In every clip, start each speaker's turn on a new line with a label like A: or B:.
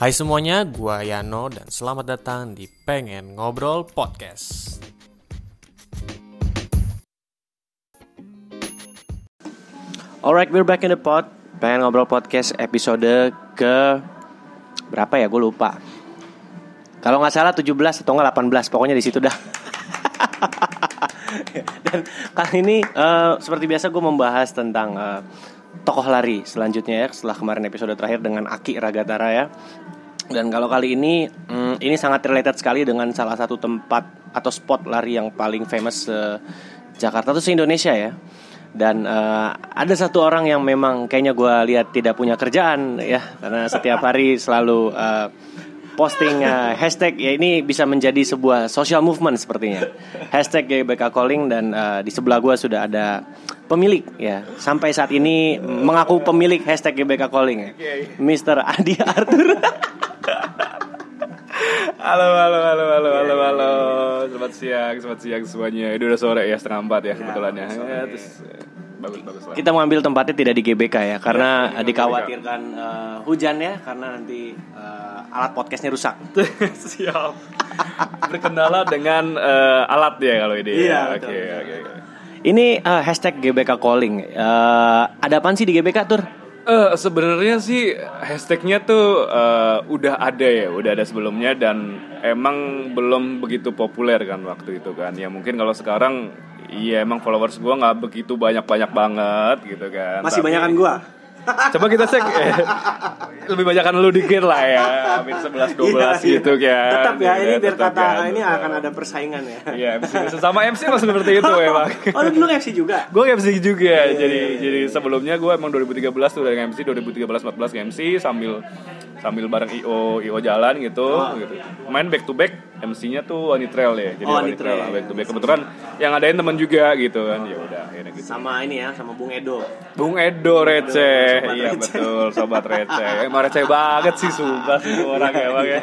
A: Hai semuanya, gua Yano dan selamat datang di Pengen Ngobrol Podcast.
B: Alright, we're back in the pod. Pengen ngobrol podcast episode ke berapa ya? Gue lupa. Kalau nggak salah 17 atau nggak 18, pokoknya di situ dah. Dan kali ini eh, seperti biasa gue membahas tentang eh, tokoh lari selanjutnya ya setelah kemarin episode terakhir dengan Aki Ragatara ya. Dan kalau kali ini mm, ini sangat related sekali dengan salah satu tempat atau spot lari yang paling famous se Jakarta tuh se Indonesia ya dan eh, ada satu orang yang memang kayaknya gue lihat tidak punya kerjaan ya karena setiap hari selalu eh, posting eh, hashtag ya ini bisa menjadi sebuah social movement sepertinya hashtag GBK Calling dan eh, di sebelah gue sudah ada pemilik ya sampai saat ini mengaku pemilik hashtag GBK Calling ya. Mr. Adi Arthur
C: Halo, halo, halo, halo, halo,
B: Iya.
C: halo. Selamat siang, selamat siang semuanya. Ini udah sore ya, setengah empat ya kebetulan ya. Ya, terus eh, bagus, bagus lah.
B: Iya, kita mengambil tempatnya tidak di GBK ya karena dikhawatirkan eh, hujannya karena nanti eh, alat podcastnya rusak
C: Siap. Berkendala dengan eh, alat ya kalau ini.
B: Iya,
C: Oke,
B: betul,
C: oke, oke.
B: Ini eh, hashtag GBK Calling. Eh, ada apaan sih di GBK tur?
C: Eh, sebenarnya sih hashtagnya tuh eh, udah ada ya, udah ada sebelumnya dan emang belum begitu populer kan waktu itu kan. Ya mungkin kalau sekarang, iya emang followers gua nggak begitu banyak banyak banget gitu kan.
B: Masih
C: Tapi-
B: banyakan gua.
C: Coba kita cek eh, Lebih banyakan lu dikit lah ya Hampir 11-12 gitu kan
B: Iya, Tetap ya, ini biar
C: tetap
B: kata
C: kan,
B: ini
C: tetap.
B: akan ada persaingan ya.
C: Iya, MC. sesama MC emang seperti itu emang
B: oh, lu dulu MC juga.
C: Gue MC juga,
B: Iya,
C: jadi jadi sebelumnya gue emang 2013 tuh udah MC, 2013-14 MC sambil sambil bareng IO IO jalan gitu, gitu. Main back to back, MC-nya tuh Wani Trail ya, jadi
B: Oh,
C: Wani
B: Wani
C: Trail
B: Trail.
C: back to back kebetulan yang ngadain teman juga gitu kan, ya udah akhirnya gitu.
B: Sama ini ya, sama Bung Edo.
C: Bung Edo receh,
B: Sobat
C: iya
B: receh.
C: betul, sobat receh. Emang receh banget sih sumpah sih orang emang ya.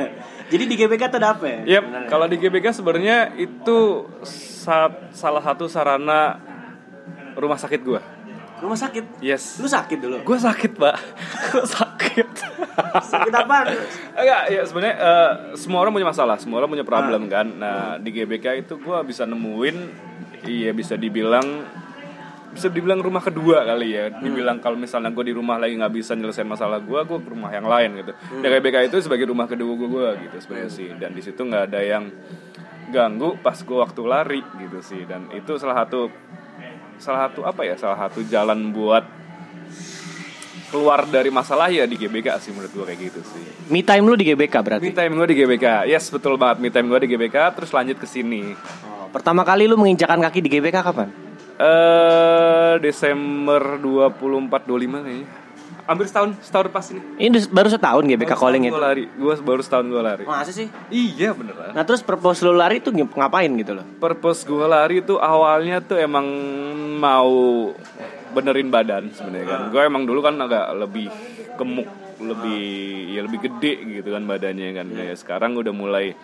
B: Jadi di GBK tuh ada apa Iya. ya?
C: Yep, kalau di GBK sebenarnya itu sa- salah satu sarana rumah sakit gua.
B: Rumah sakit.
C: Yes.
B: Lu sakit dulu.
C: Gua sakit, Pak. Gua sakit.
B: Sakit apaan?
C: Enggak, ya sebenarnya eh, semua orang punya masalah, semua orang punya problem kan. Nah, di GBK itu gua bisa nemuin iya bisa dibilang bisa dibilang rumah kedua kali ya. Dibilang kalau misalnya gue di rumah lagi nggak bisa nyelesain masalah gue, gue ke rumah yang lain gitu. Dan GBK itu sebagai rumah kedua gue gitu sebenarnya sih. Dan di situ nggak ada yang ganggu pas gue waktu lari gitu sih. Dan itu salah satu salah satu apa ya? Salah satu jalan buat keluar dari masalah ya di GBK sih menurut gue kayak gitu sih.
B: Me time lu di GBK berarti.
C: Me time gue di GBK, yes betul banget. Me time gue di GBK, terus lanjut ke sini.
B: Oh, pertama kali lu menginjakan kaki di GBK kapan?
C: Eh Desember 24 25 kayaknya. Hampir setahun, setahun pas ini.
B: Ini dus- baru setahun GBK calling itu.
C: Gue lari, gue baru setahun gue lari.
B: Masa sih?
C: Iya beneran.
B: Nah terus purpose lu lari tuh ngap- ngapain gitu loh?
C: Purpose gue lari tuh awalnya tuh emang mau benerin badan sebenarnya kan. Gue emang dulu kan agak lebih gemuk, lebih ya lebih gede gitu kan badannya kan. Ya, sekarang udah mulai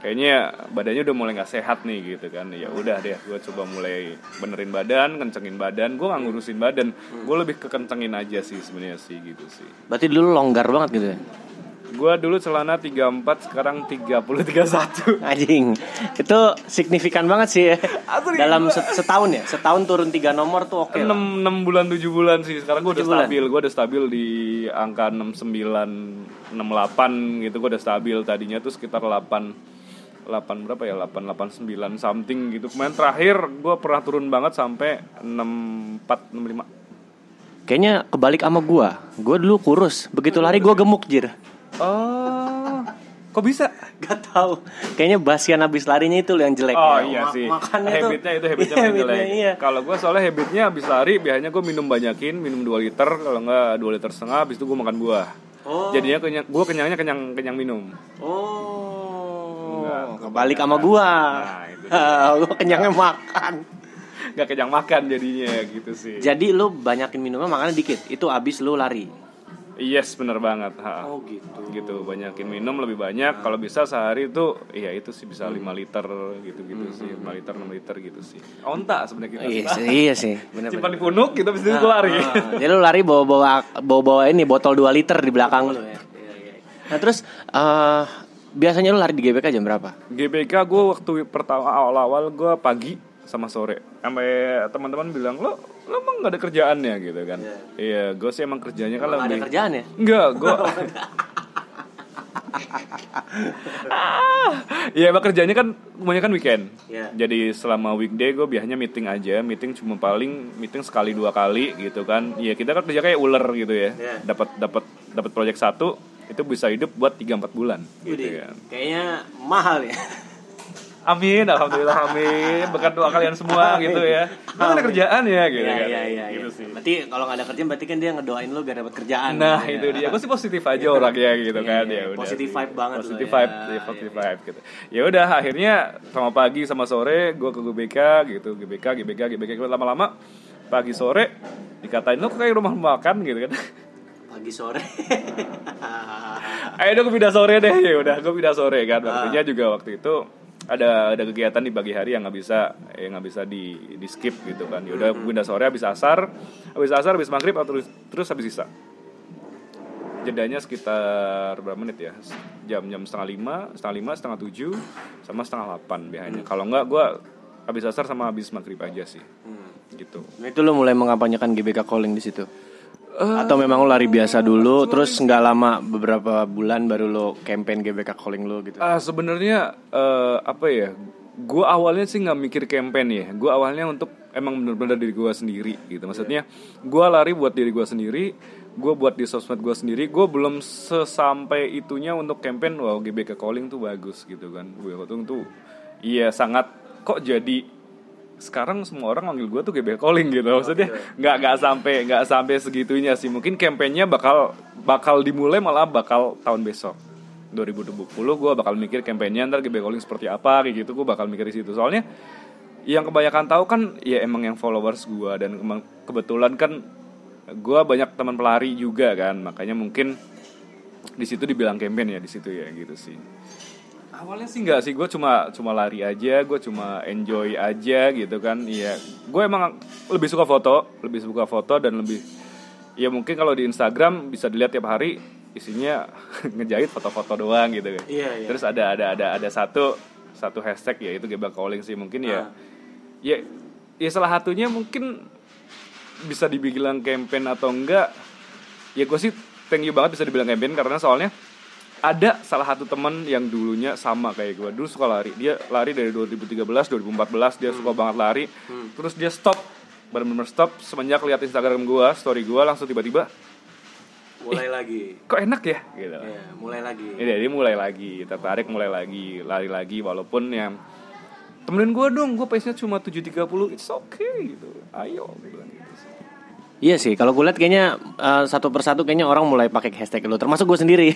C: kayaknya badannya udah mulai nggak sehat nih gitu kan. Ya udah deh, gue coba mulai benerin badan, kencengin badan. Gue nggak ngurusin badan, gue lebih kekencengin aja sih sebenarnya sih gitu sih.
B: Berarti dulu longgar banget gitu ya?
C: Gue dulu celana 34, sekarang 30 31.
B: Anjing, itu signifikan banget sih ya. Dalam set- setahun ya, setahun turun tiga nomor tuh oke. lah.
C: 6, 6 bulan 7 bulan sih sekarang gue
B: 7 bulan.
C: udah stabil gue udah stabil di angka 69 68 gitu gue udah stabil tadinya tuh sekitar 8 8 berapa ya 8 89 something gitu kemarin terakhir gue pernah turun banget sampai 64 65
B: Kayaknya kebalik sama gua. Gua dulu kurus, begitu lari gua gemuk jir.
C: oh kok bisa
B: Gak tau. Kayaknya basian abis larinya itu yang jelek.
C: oh
B: Ya,
C: iya
B: mak-
C: sih
B: Makannya tuh-
C: habitnya itu habitnya
B: Iya,
C: main jelek.
B: Iya.
C: kalau gue soalnya habitnya habis lari biasanya gue minum banyakin minum 2 liter kalau enggak 2 liter setengah habis itu gue makan buah
B: Oh.
C: jadinya kenyang gue kenyangnya kenyang kenyang minum
B: Oh.
C: Enggak,
B: kebalik sama gua.
C: Nah, itu
B: gua kenyangnya makan.
C: nggak kenyang makan jadinya gitu sih.
B: Jadi lu banyakin minumnya makannya dikit. Itu abis lu lari.
C: Yes bener banget. Ha.
B: Oh gitu.
C: gitu banyakin minum lebih banyak kalau bisa sehari itu ya itu sih bisa 5
B: Hmm.
C: liter gitu gitu sih 5 liter 6 liter gitu sih onta sebenarnya kita
B: Iya Nah, sih, iya sih. Bener-bener.
C: simpan di punuk gitu bisa itu lari
B: Ah, jadi lu lari bawa bawa bawa bawa ini botol 2 liter di belakang lu ya. Nah terus eh, biasanya lu lari di GBK jam berapa?
C: GBK gue waktu pertama awal-awal gue pagi sama sore sampai teman-teman bilang lo lo emang gak ada kerjaannya gitu kan iya gue sih emang kerjanya kan
B: Nggak ada
C: lebih
B: kerjaan ya?
C: Oh, enggak gue Iya, emang kerjanya kan semuanya kan weekend.
B: Iya.
C: Jadi selama weekday gue biasanya meeting aja, meeting cuma paling meeting sekali dua kali gitu kan. Iya kita kan kerja kayak ular gitu ya.
B: Iya.
C: Dapat dapat dapat proyek satu itu bisa hidup buat 3-4 bulan gitu
B: Widih,
C: kan.
B: Kayaknya mahal ya.
C: Amin, alhamdulillah amin. Berkat doa kalian semua gitu ya. Kan ada kerjaan ya gitu
B: Iya
C: kan.
B: iya iya. iya.
C: Gitu sih.
B: Berarti kalau nggak ada kerjaan berarti kan dia ngedoain lu biar dapat kerjaan.
C: Nah,
B: Ya.
C: itu dia. Gue sih positif aja orangnya gitu
B: Iya,
C: kan
B: iya.
C: ya udah.
B: Positive
C: sih.
B: vibe banget lo
C: Positive
B: ya.
C: vibe, iya, positive vibe gitu. Ya udah akhirnya sama pagi sama sore gue ke GBK gitu, GBK, GBK, GBK Gua lama-lama pagi sore dikatain lo kayak rumah makan gitu kan.
B: Pagi sore.
C: Akhirnya gue pindah sore deh, ya udah gue pindah sore kan. Waktunya juga waktu itu ada ada kegiatan di pagi hari yang nggak bisa yang nggak bisa di di skip gitu kan. Ya udah pindah sore habis asar, habis asar habis maghrib terus terus habis sisa. Jedanya sekitar berapa menit ya? Jam jam setengah lima, setengah lima, setengah tujuh, sama setengah delapan biasanya. Kalau nggak gue habis asar sama habis maghrib aja sih, gitu.
B: Nah, itu lu mulai mengampanyekan GBK calling di situ.
C: Eh.
B: Atau memang lu lari biasa dulu, terus nggak lama beberapa bulan baru lu campaign GBK calling lu gitu.
C: Ah sebenarnya eh, apa ya? Gue awalnya sih nggak mikir campaign ya. Gue awalnya untuk emang bener-bener diri gue sendiri gitu. Maksudnya gue lari buat diri gue sendiri. Gue buat di sosmed gue sendiri. Gue belum sesampai itunya untuk campaign. Wow GBK calling tuh bagus gitu kan. Gue tuh tuh iya sangat kok jadi sekarang semua orang manggil gue tuh GBK calling gitu maksudnya nggak nggak sampai nggak sampai segitunya sih mungkin kampanyenya bakal bakal dimulai malah bakal tahun besok 2020 gue bakal mikir kampanyenya ntar GBK calling seperti apa kayak gitu gue bakal mikir di situ soalnya yang kebanyakan tahu kan ya emang yang followers gue dan kema- kebetulan kan gue banyak teman pelari juga kan makanya mungkin di situ dibilang campaign ya di situ ya gitu sih awalnya sih nggak sih gue cuma cuma lari aja gue cuma enjoy aja gitu kan iya gue emang lebih suka foto lebih suka foto dan lebih ya mungkin kalau di Instagram bisa dilihat tiap hari isinya ngejahit foto-foto doang gitu kan
B: Iya, iya.
C: terus ada ada ada ada satu satu hashtag yaitu gebak calling sih
B: Ah.
C: mungkin ya ya ya salah satunya mungkin bisa dibilang campaign atau enggak ya gue sih thank you banget bisa dibilang campaign karena soalnya ada salah satu teman yang dulunya sama kayak gue dulu suka lari dia lari dari 2013 2014 dia suka banget lari
B: Hmm.
C: terus dia stop benar-benar stop semenjak lihat Instagram gue story gue langsung tiba-tiba
B: Mulai lagi.
C: kok enak ya gitu
B: Ya, mulai lagi.
C: Ya, jadi mulai lagi, tertarik mulai lagi, lari lagi walaupun yang temenin gue dong, gue pace-nya cuma 7.30, it's okay gitu. Ayo gue bilang gitu sih.
B: Iya sih, kalau gue lihat kayaknya eh, satu persatu kayaknya orang mulai pakai hashtag lo, termasuk gue sendiri.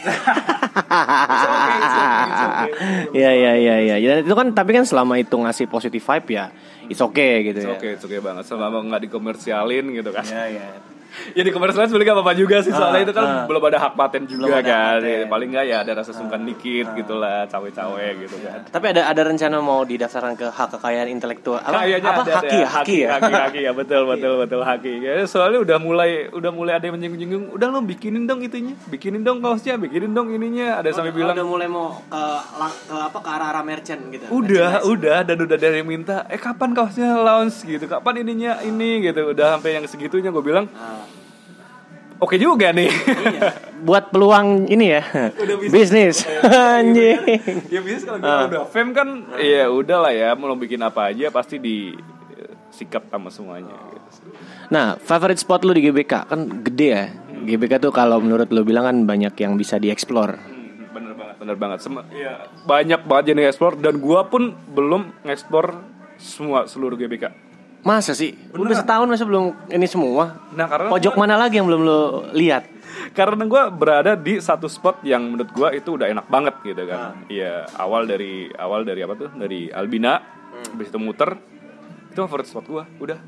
B: Iya iya iya iya. Ya, itu kan tapi kan selama itu ngasih positive vibe ya, it's okay gitu
C: It's
B: ya.
C: okay, it's okay banget selama nggak dikomersialin gitu kan.
B: Iya iya. Ah,
C: ya dikomersialin sebenarnya nggak apa-apa juga sih soalnya itu kan belum ada hak paten
B: ada
C: juga
B: Ah,
C: kan.
B: paten.
C: Ya, paling nggak ya ada rasa sungkan dikit gitu lah, cawe-cawe gitu kan.
B: Tapi ada ada rencana mau didaftarkan ke hak kekayaan intelektual. Apa,
C: Kayaknya
B: apa
C: ada, ada,
B: haki ya? Haki ya.
C: haki, haki, ya betul betul betul haki. Kayaknya soalnya udah mulai udah mulai ada yang menyinggung-nyinggung. Udah lo bikinin dong itunya, bikinin dong kaosnya, bikinin dong ininya. Ada sampai bilang
B: udah mulai mau ke, la- ke apa ke arah arah merchant gitu.
C: udah udah dan udah dari yang minta eh kapan kaosnya launch gitu kapan ininya ini gitu udah sampai yang segitunya gue bilang
B: Ah.
C: oke juga nih
B: Iya. Buat peluang ini ya. Bisnis. Anjing.
C: ya bisnis kalau kita udah fame kan ya udah lah ya mau bikin apa aja pasti di eh, sikap sama semuanya gitu sih.
B: Nah, favorite spot lu di GBK kan gede ya. GBK tuh kalau menurut lu bilang kan banyak yang bisa dieksplor.
C: Hmm, bener banget Iya. bener banget Sem- banyak banget jenis explore dan gua pun belum ngeksplor semua seluruh GBK
B: Masa sih? Udah setahun masa belum ini semua?
C: nah karena
B: Pojok mana lagi yang belum lu lihat?
C: karena gue berada di satu spot yang menurut gue itu udah enak banget gitu kan iya awal dari awal dari apa tuh dari Albina habis itu muter itu favorit spot gue udah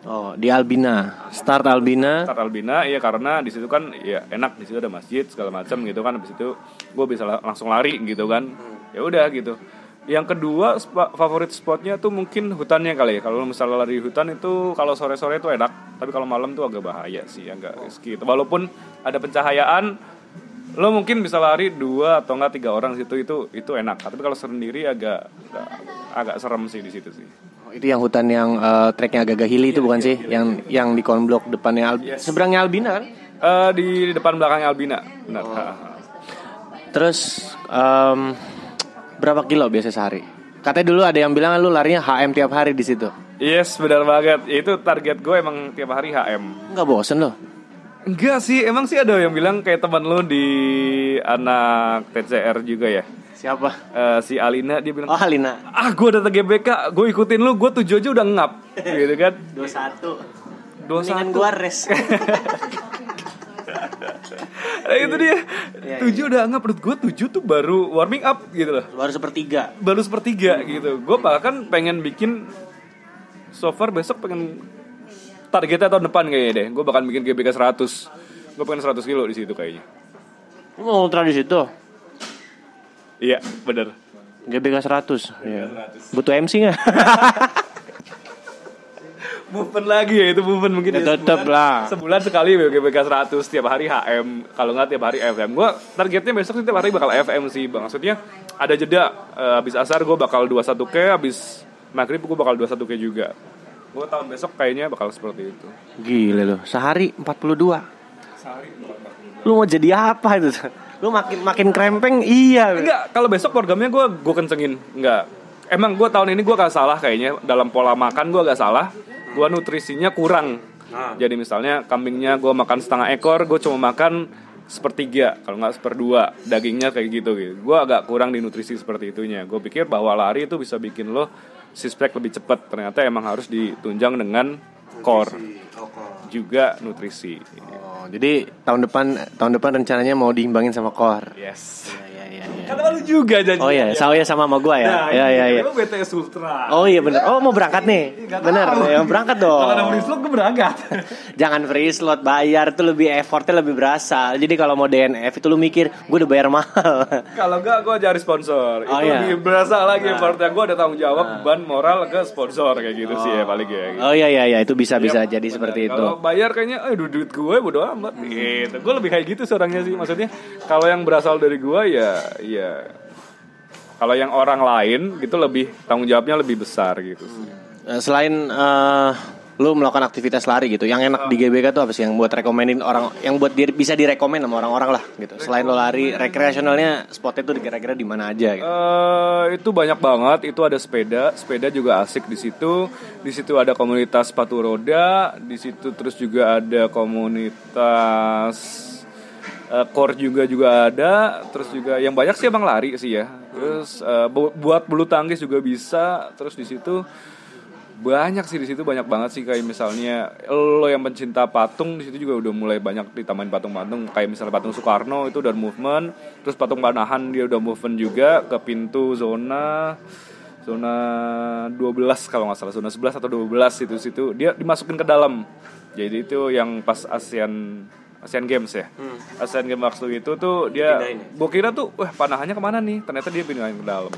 B: Oh, di Albina. Start Albina.
C: start Albina iya karena di situ kan ya enak di situ ada masjid segala macam gitu kan habis itu gue bisa la- langsung lari gitu kan ya udah gitu yang kedua spa- favorit spotnya tuh mungkin hutannya kali ya kalau misalnya lari di hutan itu kalau sore sore itu enak tapi kalau malam tuh agak bahaya sih agak risky walaupun ada pencahayaan lo mungkin bisa lari dua atau enggak tiga orang situ itu itu enak tapi kalau sendiri agak agak- agak serem sih di situ sih
B: Oh, itu yang hutan yang eh, treknya agak-agak hilly itu bukan sih? yang yang di konblok depannya Al- seberangnya Albina kan?
C: Eh, di depan belakang Albina benar Ha, ha.
B: Terus em, berapa kilo biasa sehari? Katanya dulu ada yang bilang lu larinya HM tiap hari di situ.
C: yes benar banget Ya, itu target gue emang tiap hari HM
B: Enggak bosen loh.
C: enggak sih emang sih ada yang bilang kayak teman lo di anak TCR juga ya
B: Siapa?
C: Eh, si Alina dia bilang
B: Oh, Halina.
C: ah gue datang GBK gue ikutin lu gue tujuh aja udah ngap gitu kan
B: 21.
C: dua
B: Mendingan gua res.
C: Nah, itu
B: Iya,
C: dia tujuh udah ngap menurut gue tujuh tuh baru warming up gitu loh
B: Baru sepertiga.
C: baru sepertiga gitu gue bahkan pengen bikin so far besok pengen targetnya tahun depan kayaknya deh gue bahkan bikin GBK 100 gue pengen 100 kilo di situ kayaknya
B: Lu mau ultra di situ.
C: iya bener
B: GBK 100. Iya. Butuh MC enggak?
C: movement lagi ya itu movement mungkin
B: Ya, tetep lah.
C: sebulan sekali ya, GBK 100 tiap hari HM kalau nggak tiap hari FM gue targetnya besok sih tiap hari bakal FM sih bang maksudnya ada jeda Eh, habis asar gue bakal 21 k habis maghrib gue bakal 21 k juga gue tahun besok kayaknya bakal seperti itu
B: Gila loh, sehari 42. Lu mau jadi apa itu? Lu makin makin krempeng iya.
C: enggak kalau besok programnya gue gue kencengin enggak emang gue tahun ini gue gak salah kayaknya dalam pola makan gue gak salah gue nutrisinya kurang jadi misalnya kambingnya gue makan setengah ekor gue cuma makan sepertiga kalau nggak seperdua dagingnya kayak gitu gitu gue agak kurang di nutrisi seperti itunya gue pikir bahwa lari itu bisa bikin lo six pack lebih cepat ternyata emang harus ditunjang dengan core juga nutrisi
B: Oh, jadi tahun depan tahun depan rencananya mau diimbangin sama kor.
C: yes
B: Iya iya iya.
C: kata lu juga janji Nah,
B: Oh iya, saya sama sama gua ya. Iya iya iya.
C: Emang BTS Ultra
B: Oh iya bener. Oh mau berangkat nih. Bener. Ya berangkat
C: Kalau ada free
B: dong.
C: slot gue berangkat.
B: Jangan free slot bayar tuh lebih effortnya lebih berasa. Jadi kalau mau DNF itu lu mikir gue udah bayar mahal.
C: Kalau enggak gue cari sponsor. Itu
B: Oh, iya. Nah.
C: lebih berasa lagi partnya gue ada tanggung jawab beban moral ke sponsor kayak gitu sih ya paling ya. Gitu.
B: Oh gitu. iya iya iya itu bisa bisa jadi
C: Benar.
B: seperti itu.
C: Kalau bayar kayaknya eh duit, duit gue bodo amat
B: Hmm.
C: gitu. Gue lebih kayak gitu seorangnya sih maksudnya. Kalau yang berasal dari gue ya ya kalau yang orang lain gitu lebih tanggung jawabnya lebih besar gitu sih.
B: Eh, Selain eh, lu melakukan aktivitas lari gitu, yang enak di
C: Ah.
B: GBK tuh apa sih yang buat rekomenin orang yang buat di- bisa direkomend sama orang-orang lah gitu. Selain lo lari, rekreasionalnya spotnya tuh kira-kira di mana aja gitu.
C: eh itu banyak banget. Itu ada sepeda, sepeda juga asik di situ. Di situ ada komunitas sepatu roda, di situ terus juga ada komunitas eh, core juga juga ada. Terus juga yang banyak sih emang lari sih ya. Terus eh, bu- buat bulu tangkis juga bisa. Terus di situ banyak sih di situ banyak banget sih kayak misalnya lo yang pencinta patung di situ juga udah mulai banyak ditambahin patung-patung kayak misalnya patung Soekarno itu udah movement terus patung Panahan dia udah movement juga ke pintu zona zona 12 kalau nggak salah zona 11 atau 12 itu situ dia dimasukin ke dalam jadi itu yang pas ASEAN ASEAN Games ya ASEAN Games waktu itu tuh dia gue kira tuh wah Panahannya kemana nih ternyata dia pindahin ke dalam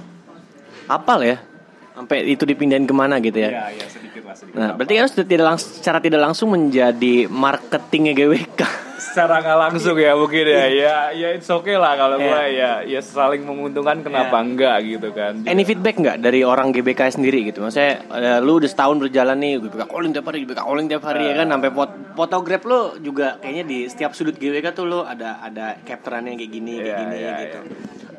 B: Apal ya? Sampai itu dipindahin kemana gitu ya?
C: ya ya sedikit lah sedikit
B: Nah, berarti kan sudah tidak langsung, secara tidak langsung menjadi marketingnya GWK.
C: secara nggak langsung ya mungkin ya ya ya it's okay lah kalau gua ya ya saling menguntungkan kenapa enggak gitu kan
B: Any feedback nggak dari orang GBK sendiri gitu? Maksudnya eh, lu udah setahun berjalan nih GBK calling tiap hari, GBK calling tiap hari ya kan sampai pot- fotograf lu juga kayaknya di setiap sudut GBK tuh lu ada ada capturannya yang kayak gini, kayak
C: Iya,
B: gini
C: iya,
B: gitu.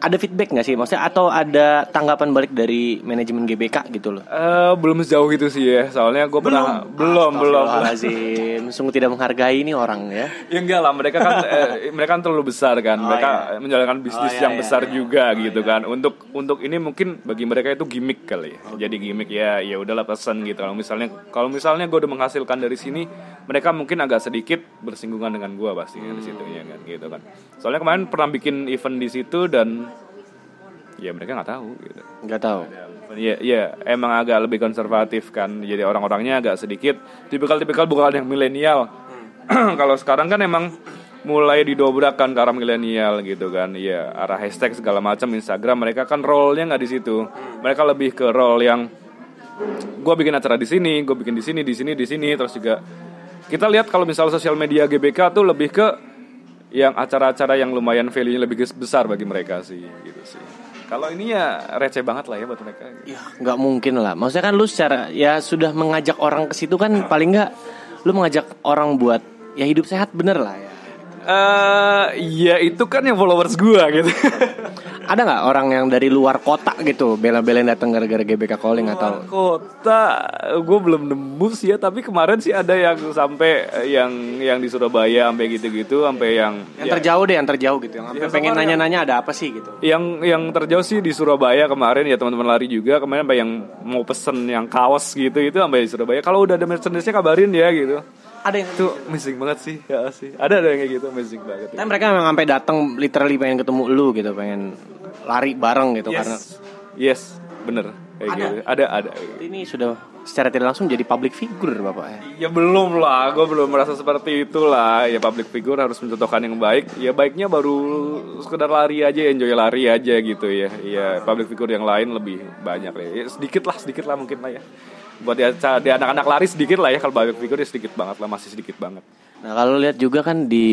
B: Ada feedback nggak sih? Maksudnya atau ada tanggapan balik dari manajemen GBK gitu loh?
C: Eh, belum sejauh itu sih ya soalnya gue pernah Oh, belum belum
B: Astagfirullahalazim. Sungguh tidak menghargai ini orang ya.
C: ya enggak lah mereka kan eh, mereka kan terlalu besar kan mereka menjalankan bisnis
B: Oh, iya,
C: yang
B: iya,
C: besar juga gitu kan untuk untuk ini mungkin bagi mereka itu gimmick kali ya
B: Oh.
C: jadi gimmick ya ya udahlah pesan gitu kalau misalnya kalau misalnya gue udah menghasilkan dari sini mereka mungkin agak sedikit bersinggungan dengan gue pasti di situ ya kan gitu kan soalnya kemarin pernah bikin event di situ dan ya mereka nggak tahu gitu
B: Nggak tahu.
C: Iya, iya, emang agak lebih konservatif kan. Jadi orang-orangnya agak sedikit tipikal-tipikal bukan yang milenial. Kalau sekarang kan emang mulai didobrakkan ke arah milenial gitu kan. Iya, arah hashtag segala macam Instagram mereka kan role-nya nggak di situ. Mereka lebih ke role yang gue bikin acara di sini, gue bikin di sini, di sini, di sini, terus juga kita lihat kalau misalnya sosial media GBK tuh lebih ke yang acara-acara yang lumayan value-nya lebih ges- besar bagi mereka sih gitu sih. Kalau ini ya receh banget lah ya buat mereka. gitu.
B: Ya, nggak mungkin lah. Maksudnya kan lu secara ya sudah mengajak orang ke situ kan paling nggak lu mengajak orang buat ya hidup sehat bener lah ya.
C: Eh, ya itu kan yang followers gua gitu.
B: Ada nggak orang yang dari luar kota gitu bela-belain datang gara-gara GBK calling atau
C: Luar kota gue belum nemu sih ya tapi kemarin sih ada yang sampai eh, yang yang di Surabaya sampai gitu-gitu sampai yang
B: yang terjauh deh yang terjauh gitu yang sampai pengen nanya-nanya ada apa sih gitu.
C: yang yang terjauh sih di Surabaya kemarin ya teman-teman lari juga kemarin apa yang mau pesen yang kaos gitu itu sampai di Surabaya kalau udah ada merchandise-nya kabarin ya gitu
B: Ada yang
C: itu amazing banget sih ya sih ada ada yang kayak gitu amazing banget
B: Tapi mereka memang sampai datang literally pengen ketemu lu gitu, pengen lari bareng gitu karena
C: yes bener kayak gitu ada ada
B: ini sudah secara tidak langsung jadi public figure bapak ya.
C: ya belum lah gue belum merasa seperti itulah ya public figure harus mencontohkan yang baik ya baiknya baru sekedar lari aja enjoy lari aja gitu ya ya public figure yang lain lebih banyak lah ya sedikit lah sedikit lah mungkin lah ya buat di, di anak-anak lari sedikit lah ya kalau public figure ya sedikit banget lah masih sedikit banget
B: Nah kalau lihat juga kan di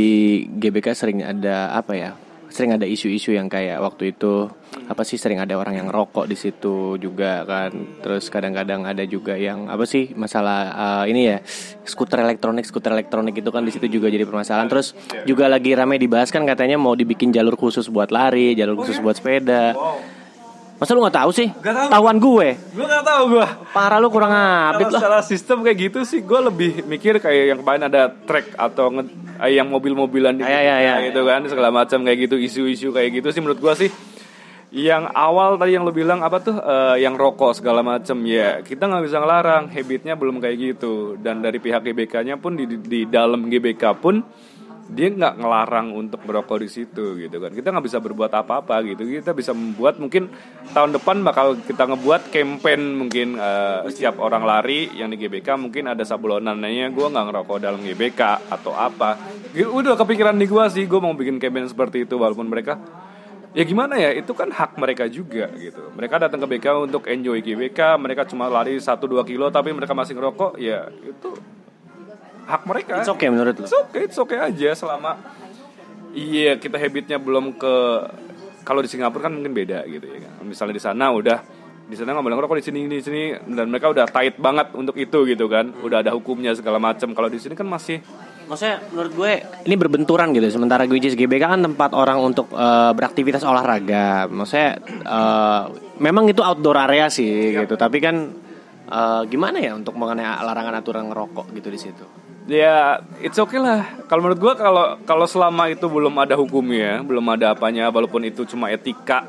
B: GBK sering ada apa ya? Sering ada isu-isu yang kayak waktu itu apa sih sering ada orang yang rokok di situ juga kan. Terus kadang-kadang ada juga yang apa sih masalah eh, ini ya skuter elektronik skuter elektronik itu kan di situ juga jadi permasalahan. Terus juga lagi ramai dibahas kan katanya mau dibikin jalur khusus buat lari, jalur khusus buat sepeda. Masa lu nggak tahu sih? Tawan gue.
C: gue gak tahu gue
B: Parah lu kurang
C: Kalau
B: update lah.
C: secara sistem kayak gitu sih gue lebih mikir kayak yang kemarin ada track atau nge- eh, yang mobil-mobilan di
B: Ya, ya, ya, ya.
C: gitu kan segala macam kayak gitu isu-isu kayak gitu sih menurut gue sih yang awal tadi yang lo bilang apa tuh eh, yang rokok segala macam ya kita nggak bisa ngelarang habitnya belum kayak gitu dan dari pihak GBK-nya pun di, di- di dalam GBK pun dia nggak ngelarang untuk merokok di situ gitu kan kita nggak bisa berbuat apa-apa gitu kita bisa membuat mungkin tahun depan bakal kita ngebuat campaign mungkin eh, setiap orang lari yang di GBK mungkin ada sablonannya gue nggak ngerokok dalam GBK atau apa Gitu, udah kepikiran di gue sih gue mau bikin campaign seperti itu walaupun mereka ya gimana ya itu kan hak mereka juga gitu mereka datang ke BK untuk enjoy GBK mereka cuma lari 1-2 kilo tapi mereka masih ngerokok ya itu hak mereka
B: It's okay menurut lu.
C: It's okay, it's okay aja selama iya kita habitnya belum ke kalau di Singapura kan mungkin beda gitu ya kan. Misalnya di sana udah di sana nggak boleh ngerokok di sini di sini dan mereka udah tight banget untuk itu gitu kan. Udah ada hukumnya segala macam. Kalau di sini kan masih
B: Maksudnya menurut gue ini berbenturan gitu. Sementara Guijis GBK kan tempat orang untuk eh, beraktivitas olahraga. Maksudnya eh, memang itu outdoor area sih gitu. Tapi kan eh, gimana ya untuk mengenai larangan aturan ngerokok gitu di situ.
C: Ya, it's okay lah. Kalau menurut gua kalau kalau selama itu belum ada hukumnya, belum ada apanya, walaupun itu cuma etika,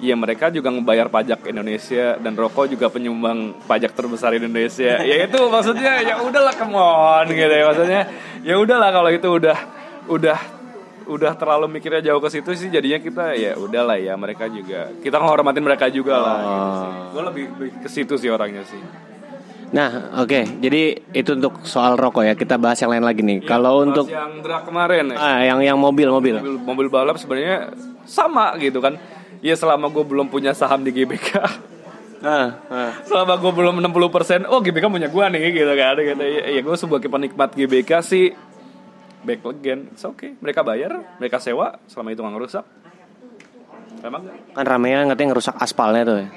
C: ya mereka juga ngebayar pajak Indonesia dan rokok juga penyumbang pajak terbesar Indonesia. ya itu maksudnya ya udahlah come on gitu ya maksudnya. Ya udahlah kalau itu udah udah udah terlalu mikirnya jauh ke situ sih jadinya kita ya udahlah ya mereka juga kita menghormatin mereka juga lah. Gitu sih. Gua lebih, lebih ke situ sih orangnya sih.
B: Nah, oke. Jadi itu untuk soal rokok ya. Kita bahas yang lain lagi nih. Kalau
C: Pas
B: untuk
C: yang drag kemarin ya.
B: ah, yang yang mobil-mobil.
C: mobil, mobil balap sebenarnya sama gitu kan ya selama gue belum punya saham di GBK
B: Ah,
C: selama gue belum 60% oh GBK punya gue nih gitu kan gitu. ya, gue sebagai penikmat GBK sih back again it's okay mereka bayar mereka sewa selama itu nggak ngerusak emang nggak?
B: Kan ramean katanya ngerusak aspalnya tuh. Ya.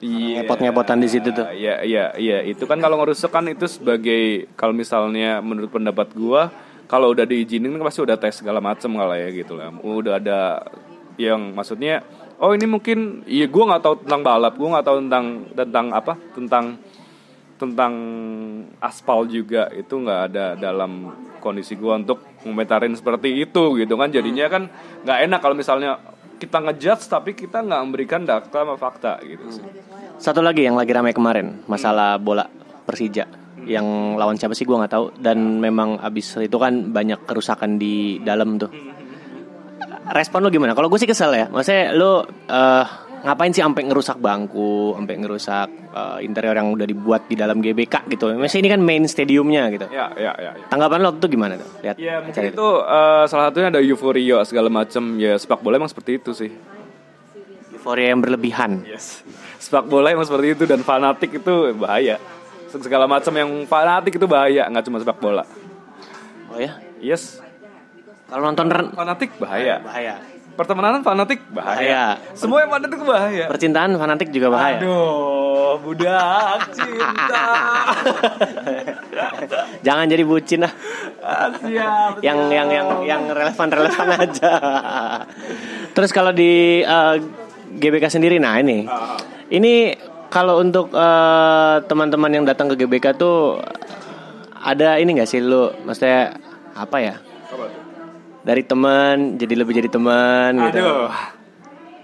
C: Iya.
B: Ngepot-ngepotan di situ tuh.
C: Iya, iya, iya. Itu kan kalau ngerusak kan itu sebagai kalau misalnya menurut pendapat gua kalau udah diizinin kan pasti udah tes segala macem kalau ya gitu lah. Udah ada yang maksudnya oh ini mungkin iya gua nggak tahu tentang balap, gua nggak tahu tentang tentang apa? Tentang tentang aspal juga itu nggak ada dalam kondisi gua untuk ngomentarin seperti itu gitu kan jadinya kan nggak enak kalau misalnya kita ngejudge tapi kita nggak memberikan data sama fakta gitu sih.
B: Satu lagi yang lagi ramai kemarin masalah bola Persija yang lawan siapa sih gua nggak tahu dan memang abis itu kan banyak kerusakan di dalam tuh. Respon lu gimana? Kalau gue sih kesel ya. Maksudnya lu eh, ngapain sih sampai ngerusak bangku, sampai ngerusak eh, interior yang udah dibuat di dalam GBK gitu. Maksudnya ini kan main stadiumnya gitu.
C: Ya, ya, ya. ya.
B: Tanggapan lu waktu itu gimana tuh? Lihat.
C: Ya mungkin
B: acara
C: itu eh, salah satunya ada euforia segala macam ya sepak bola emang seperti itu sih.
B: Euforia yang berlebihan.
C: Yes. Sepak bola emang seperti itu dan fanatik itu bahaya. Segala macam yang fanatik itu bahaya nggak cuma sepak bola.
B: Oh ya.
C: Yes.
B: Kalau nonton ren-
C: Fanatik bahaya.
B: bahaya.
C: Pertemanan fanatik bahaya. Semua yang fanatik bahaya.
B: Percintaan fanatik juga bahaya.
C: Aduh, budak cinta.
B: Jangan jadi bucin lah.
C: Ah, Siap.
B: yang yang yang yang relevan relevan aja terus kalau di eh, GBK sendiri nah ini
C: Ah,
B: ini kalau untuk eh, teman-teman yang datang ke GBK tuh ada ini nggak sih lu maksudnya apa ya
C: Apa tuh?
B: dari teman jadi lebih jadi teman gitu
C: Aduh.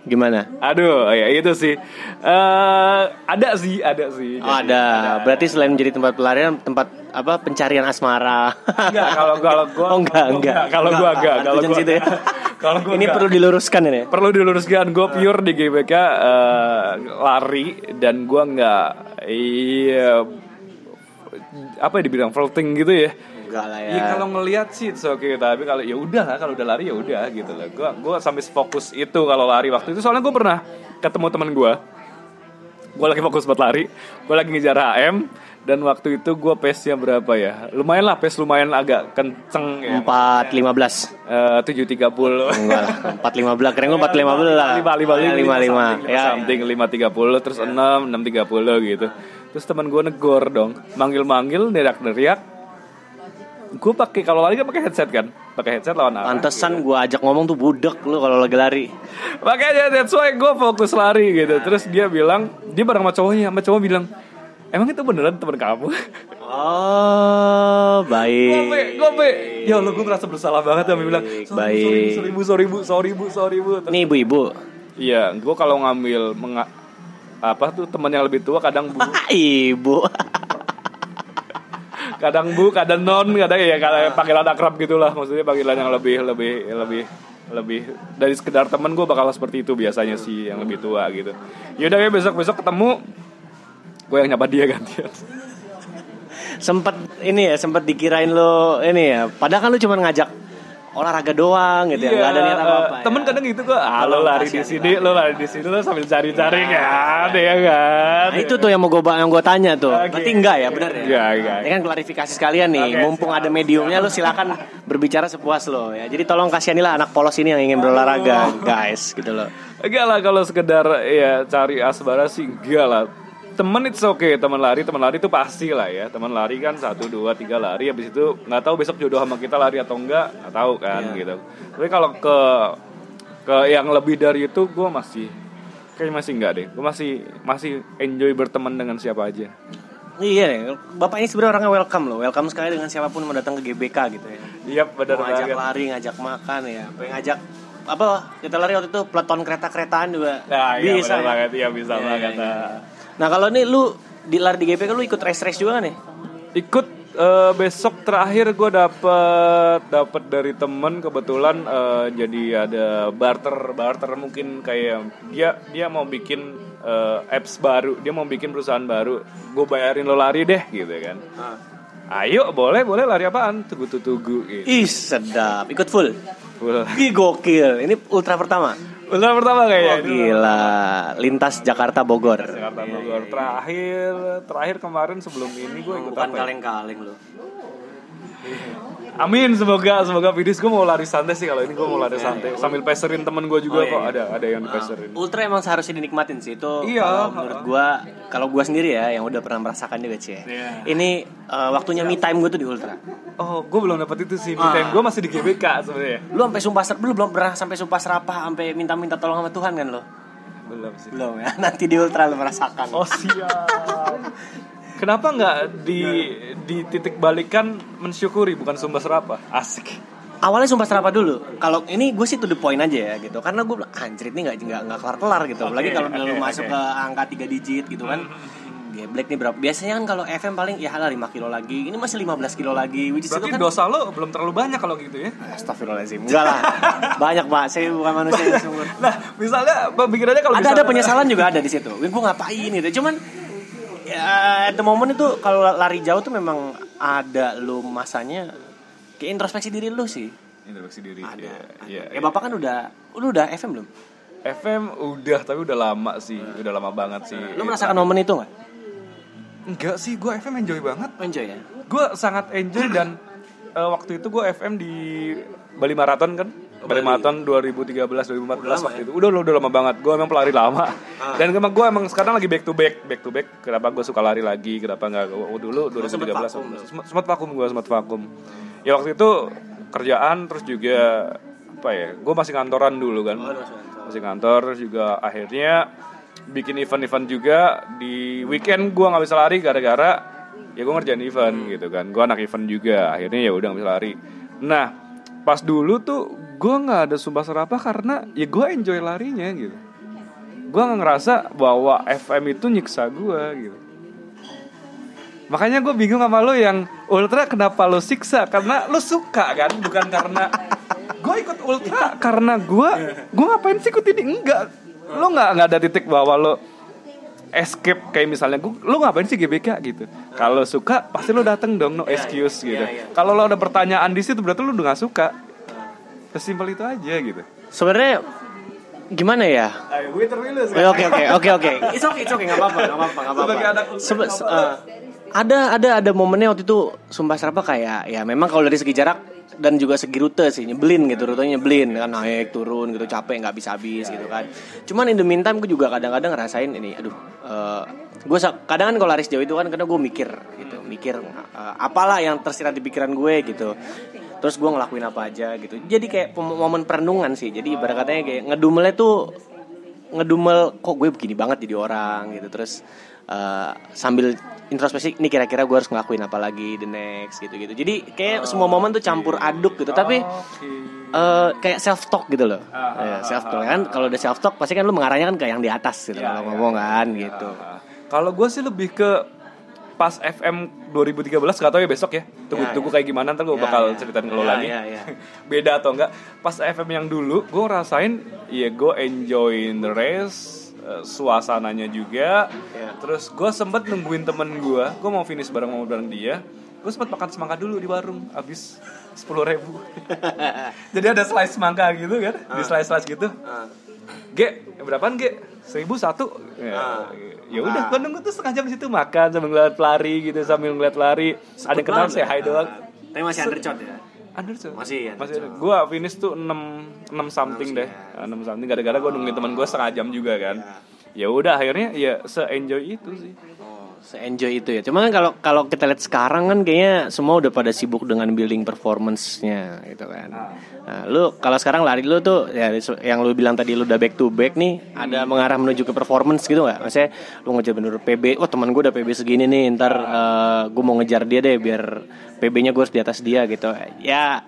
B: gimana
C: Aduh, ya itu sih. Eh, ada sih, ada sih.
B: Oh, ada. Berarti selain menjadi tempat pelarian, tempat apa pencarian asmara.
C: Enggak, kalau kalau gua
B: Oh, enggak, enggak.
C: Kalau
B: Enggak,
C: gua enggak,
B: enggak.
C: kalau
B: Tujuan
C: gua
B: situ ya.
C: Kalau gua
B: ini
C: enggak.
B: perlu diluruskan ini.
C: perlu diluruskan gue pure di GBK eh, lari dan gue nggak iya apa ya dibilang flirting gitu ya
B: Enggak lah
C: Iya kalau ngelihat sih it's okay tapi kalau ya udah lah, kalau udah lari ya udah gitu loh gue gua sampai fokus itu kalau lari waktu itu soalnya gue pernah ketemu teman gue gue lagi fokus buat lari gue lagi ngejar HM dan waktu itu gue pace nya berapa ya lumayan lah pace lumayan agak kenceng ya Eh,
B: Empat lima belas.
C: tujuh tiga puluh
B: Enggak lah, 415 keren gue 415 lah.
C: lima lima lima lima
B: Ya,
C: something lima tiga puluh terus enam enam tiga puluh gitu terus teman gue negor dong manggil manggil neriak neriak gue pakai kalau lari kan pakai headset kan pakai headset lawan arah
B: pantesan gue ajak ngomong tuh budek lu kalau lagi lari.
C: makanya that's why gue fokus lari gitu terus dia bilang dia bareng sama cowoknya sama cowok bilang emang itu beneran teman kamu
B: Oh,
C: Gope,
B: baik.
C: gope. Ya Allah, gue ngerasa bersalah banget sama bilang
B: baik.
C: Sorry, bu, sorry bu, sorry bu, sorry bu Terus
B: Ini ibu-ibu.
C: Iya, gue kalau ngambil menga- apa tuh teman yang lebih tua kadang bu,
B: Ah, Ibu.
C: kadang bu, kadang non, kadang ya kadang panggilan akrab gitulah. Maksudnya panggilan yang lebih lebih lebih lebih dari sekedar teman gue bakal seperti itu biasanya sih yang lebih tua gitu. Yaudah ya besok besok ketemu gue yang nyapa dia gantian.
B: Sempet ini ya, sempet dikirain lu ini ya. Padahal kan lu cuma ngajak olahraga doang gitu ya. Enggak ada niat
C: eh,
B: apa-apa.
C: Temen
B: ya.
C: kadang gitu gue, ah lo lari di sini, lo lari di sini, lo sambil cari-cari kan, ya kan.
B: Iya, Nah, itu tuh yang mau gue yang gua tanya tuh.
C: Oke.
B: Berarti enggak ya, benar ya?
C: Enggak, enggak.
B: Ini kan klarifikasi sekalian nih.
C: Oke,
B: Mumpung ada mediumnya lu silakan berbicara sepuas lo ya. Jadi tolong kasihanilah anak polos ini yang ingin berolahraga, guys, gitu loh.
C: Enggak lah kalau sekedar ya cari asbara sih enggak lah. Temen it's okay, teman lari, teman lari itu pasti lah ya. Teman lari kan satu, dua, tiga lari, habis itu nggak tahu besok jodoh sama kita lari atau enggak, nggak tahu kan gitu. Tapi kalau ke ke yang lebih dari itu, gue masih kayaknya masih enggak deh. Gue masih masih enjoy berteman dengan siapa aja.
B: Iya, nih, Bapak ini sebenarnya orangnya welcome loh. Welcome sekali dengan siapapun mau datang ke GBK gitu ya.
C: Iya, benar
B: Mau ngajak
C: banget.
B: lari, ngajak makan ya. Pengen ngajak apa kita lari waktu itu peleton kereta-keretaan juga
C: Nah, iya,
B: bisa
C: benar
B: ya.
C: banget, iya bisa banget. nah.
B: nah kalau nih lu di lari di GBK lu ikut race race juga nggak nih
C: ikut eh, besok terakhir gue dapet dapet dari temen kebetulan eh, jadi ada barter barter mungkin kayak dia dia mau bikin eh, apps baru dia mau bikin perusahaan baru gue bayarin lo lari deh gitu kan ayo boleh boleh lari apaan tugu tugu gitu
B: ih sedap ikut full
C: Ulah
B: Ih gokil, ini ultra pertama.
C: ulah pertama kayaknya ini
B: Gila, lintas Jakarta Bogor.
C: Jakarta Bogor terakhir terakhir kemarin sebelum
B: Oh,
C: ini gue ikut apa ya?
B: kaleng-kaleng lu.
C: Amin semoga semoga finish gue mau lari santai sih kalau ini gue mau lari
B: Iya,
C: santai sambil peserin temen gue
B: Oh,
C: juga kok ada ada yang dipeserin.
B: Ultra emang seharusnya dinikmatin sih itu. kalau
C: Iya,
B: menurut gua, kalau gua sendiri ya yang udah pernah merasakan juga sih. ya.
C: Iya.
B: Ini eh, waktunya me time gua tuh di ultra.
C: Oh gue belum dapat itu sih.
B: Ah.
C: Me time gue masih di GBK sebenarnya.
B: Lu sampai sumpah serapah belum belum pernah sampai sumpah serapah sampai minta-minta tolong sama Tuhan kan lo?
C: Belum sih.
B: Belum ya. Nanti di ultra lu merasakan.
C: Oh siap. Kenapa nggak di di titik balikan mensyukuri bukan sumpah serapah? Asik.
B: awalnya sumpah serapah dulu kalau ini gue sih to the point aja ya gitu karena gue bilang anjir ini nggak nggak nggak kelar kelar gitu apalagi kalau
C: oke,
B: lu
C: oke. Hmm,
B: masuk ke angka 3 digit gitu kan dia black nih berapa biasanya kan kalau FM paling ya lah 5 kilo lagi ini masih 15 kilo lagi which is itu
C: Berarti
B: kan
C: dosa lo belum terlalu banyak kalau gitu ya.
B: Astagfirullahaladzim Enggak lah Banyak pak Saya bukan manusia yang sumur
C: Nah misalnya pemikirannya kalau
B: ada ada
C: misalnya-
B: penyesalan juga ada di situ. Gue ngapain gitu. Cuman ya, at the moment itu kalau lari jauh tuh memang ada lu masanya ke introspeksi diri lu sih.
C: Introspeksi diri.
B: Ada.
C: Iya,
B: ada.
C: iya,
B: ya bapak kan udah lu udah FM belum?
C: FM udah tapi udah lama sih, udah lama banget sih.
B: Lu merasakan momen itu nggak?
C: Enggak sih, gue FM enjoy banget.
B: Enjoy ya.
C: gue sangat enjoy dan eh, waktu itu gue FM di Bali Marathon kan Bali Marathon 2013 2014 waktu itu udah udah lama ya? Ah. banget gue emang pelari lama dan emang gue emang sekarang lagi back to back back to back kenapa gue suka lari lagi kenapa nggak gua- dulu 2013 sem- sempat Oh, vakum gue sempat vakum ya waktu itu kerjaan terus juga apa ya gue masih kantoran dulu kan masih kantor terus juga akhirnya bikin event-event juga di weekend gue nggak bisa lari gara-gara ya gue ngerjain event gitu kan gue anak event juga akhirnya ya udah nggak bisa lari nah pas dulu tuh gue nggak ada sumpah serapah karena ya gue enjoy larinya gitu gue nggak ngerasa bahwa FM itu nyiksa gue gitu makanya gue bingung sama lo yang ultra kenapa lo siksa karena lo suka kan bukan karena gue ikut ultra karena gue gue ngapain sih ikut ini enggak lo nggak nggak ada titik bahwa lo escape kayak misalnya gue lo ngapain sih GBK gitu kalau suka pasti lo dateng dong no excuse gitu kalau lo ada pertanyaan di situ berarti lo udah nggak suka sesimpel itu aja gitu
B: Sebenarnya gimana ya? Eh, Oke oke oke oke. It's okay it's okay nggak apa-apa nggak apa-apa nggak apa-apa.
C: Sebagai anak-
B: Sebe- se- eh, ada ada ada momennya waktu itu sumpah serapa kayak ya memang kalau dari segi jarak dan juga segi rute sih nyebelin gitu rutenya nyebelin kan naik turun gitu capek nggak bisa habis gitu kan cuman in the meantime gue juga kadang-kadang ngerasain ini aduh gue kadang kan kalau lari sejauh itu kan karena gue mikir gitu mikir eh, apalah yang tersirat di pikiran gue gitu terus gue ngelakuin apa aja gitu jadi kayak pem- momen perenungan sih jadi ibarat katanya kayak ngedumelnya tuh ngedumel kok gue begini banget jadi orang gitu terus eh, sambil introspeksi ini kira-kira gue harus ngelakuin apa lagi the next gitu-gitu jadi kayak semua momen tuh campur aduk gitu tapi eh, kayak self talk gitu loh self talk kan kalau udah self talk pasti kan lu mengarahnya kan ke yang di atas gitu kalau ngomong kan gitu
C: Ah, Kalau gue sih lebih ke pas FM 2013 gak tau ya besok ya tunggu tunggu kayak gimana ntar gue
B: Ya,
C: bakal
B: ya.
C: ceritain ke lo
B: Ya,
C: lagi
B: ya, ya.
C: beda atau enggak pas FM yang dulu gue ngerasain ya gue enjoyin the race eh, suasananya juga
B: Ya.
C: terus gue sempet nungguin temen gue gue mau finish bareng mau bareng dia gue sempet makan semangka dulu di warung abis sepuluh ribu jadi ada slice semangka gitu kan di
B: Ah.
C: slice slice gitu Ge, berapaan Ge? Seribu satu.
B: Ah.
C: Ya, ya udah, gua nunggu tuh setengah jam di situ makan sambil ngeliat pelari gitu, sambil ngeliat pelari. Ada yang kenal saya hai doang.
B: tapi masih undershot ya
C: Undercut.
B: Masih,
C: Masih ada. Gua finish tuh 6 6 something deh. 6 something gara-gara gua nungguin teman gua setengah jam juga kan.
B: Iya.
C: Ya udah akhirnya ya se-enjoy itu sih.
B: enjoy itu ya cuman kalau kalau kita lihat sekarang kan kayaknya semua udah pada sibuk dengan building performance-nya gitu kan nah, lu kalau sekarang lari lu tuh ya se- yang lu bilang tadi lu udah back to back nih ada mengarah menuju ke performance gitu nggak maksudnya lu ngejar bener PB oh teman gue udah PB segini nih ntar gue mau ngejar dia deh biar PB-nya gue harus di atas dia gitu ya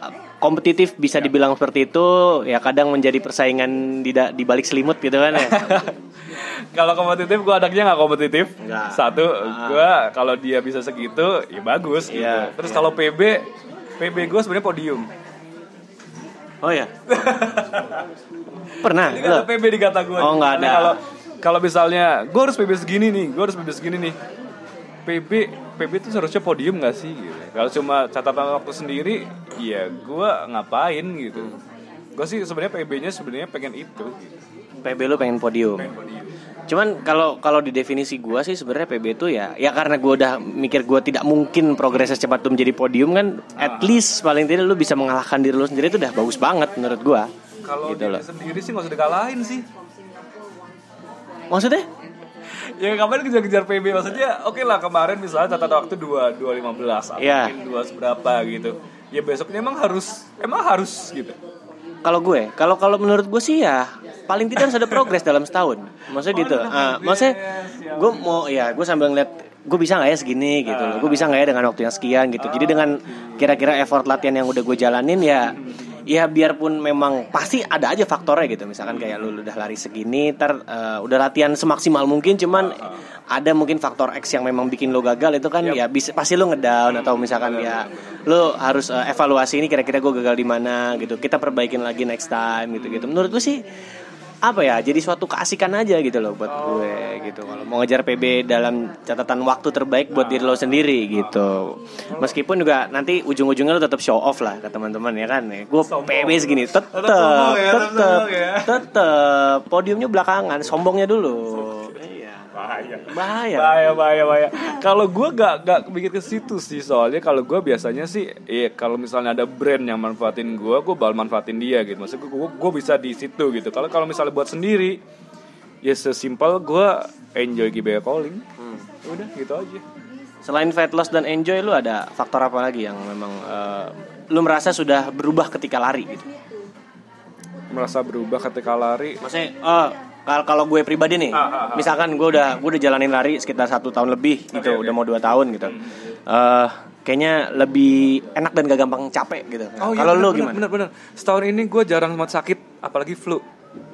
B: eh, kompetitif bisa dibilang seperti itu ya kadang menjadi persaingan di da- di balik selimut gitu kan ya
C: kalau kompetitif gue anaknya nggak kompetitif
B: Nggak. Ah.
C: satu gua kalau dia bisa segitu ya bagus gitu
B: Iya,
C: terus kalau PB PB gue sebenarnya podium
B: oh ya pernah
C: Ini
B: lu?
C: kan ada PB di kata gue.
B: Oh, nggak ada.
C: Kalau kalau misalnya gue harus PB segini nih, gue harus PB segini nih. PB PB itu seharusnya podium gak sih? Gitu. Kalau cuma catatan waktu sendiri, ya gue ngapain gitu. Gue sih sebenarnya PB-nya sebenarnya pengen itu. Gitu.
B: PB lu pengen podium. Cuman kalau kalau di definisi gua sih sebenarnya PB itu ya ya karena gua udah mikir gua tidak mungkin progresnya cepat lu menjadi podium kan at
C: Ah.
B: least paling tidak lu bisa mengalahkan diri lu sendiri itu udah bagus banget menurut gua.
C: Kalau
B: Gitu
C: diri
B: loh.
C: sendiri sih gak usah dikalahin sih.
B: Maksudnya?
C: Ya kemarin kejar-kejar PB maksudnya oke lah kemarin misalnya catatan waktu 2 215 atau
B: Iya.
C: mungkin 2 seberapa gitu. Ya besoknya emang harus emang harus gitu.
B: Kalau gue, kalau kalau menurut gue sih ya paling tidak harus ada progres dalam setahun. Maksudnya gitu.
C: Oh,
B: Ah, maksudnya
C: Iya,
B: gue mau ya gue sambil ngeliat gue bisa nggak ya segini gitu loh. Gue bisa nggak ya dengan waktu yang sekian gitu. Jadi dengan kira-kira effort latihan yang udah gue jalanin ya ya biarpun memang pasti ada aja faktornya gitu. Misalkan kayak lu udah lari segini, ter udah latihan semaksimal mungkin cuman ada mungkin faktor X yang memang bikin lo gagal itu kan ya bisa pasti lo ngedown atau misalkan ya lo harus eh, evaluasi ini kira-kira gue gagal di mana gitu kita perbaikin lagi next time gitu gitu menurut gue sih apa ya jadi suatu keasikan aja gitu loh buat
C: Oh,
B: gue gitu kalau mau ngejar PB dalam catatan waktu terbaik buat diri lo sendiri
C: Oh.
B: gitu meskipun juga nanti ujung-ujungnya lo tetap show off lah ke teman-teman ya kan gue PB segini tetap
C: sombong ya, tetap
B: tetap
C: sombong ya.
B: tetap podiumnya belakangan sombongnya dulu iya
C: bahaya.
B: Bahaya.
C: Bahaya, bahaya, bahaya. Kalau gue gak gak mikir ke situ sih soalnya kalau gue biasanya sih, ya kalau misalnya ada brand yang manfaatin gue, gue bakal manfaatin dia gitu. Maksudnya gue gue bisa di situ gitu. Kalau kalau misalnya buat sendiri, ya sesimpel gue enjoy GBA calling.
B: Hmm.
C: Udah gitu aja.
B: Selain fat loss dan enjoy lu ada faktor apa lagi yang memang eh, lu merasa sudah berubah ketika lari gitu?
C: Merasa berubah ketika lari.
B: Maksudnya eh, kal- kalau gue pribadi nih,
C: Ah, ah, ah.
B: misalkan gue udah gue udah jalanin lari sekitar satu tahun lebih gitu,
C: oke.
B: udah mau dua tahun gitu. Eh, kayaknya lebih enak dan gak gampang capek gitu.
C: Oh, iya,
B: kalau
C: bener,
B: lu
C: bener,
B: gimana?
C: Bener bener. Setahun ini gue jarang banget sakit, apalagi flu.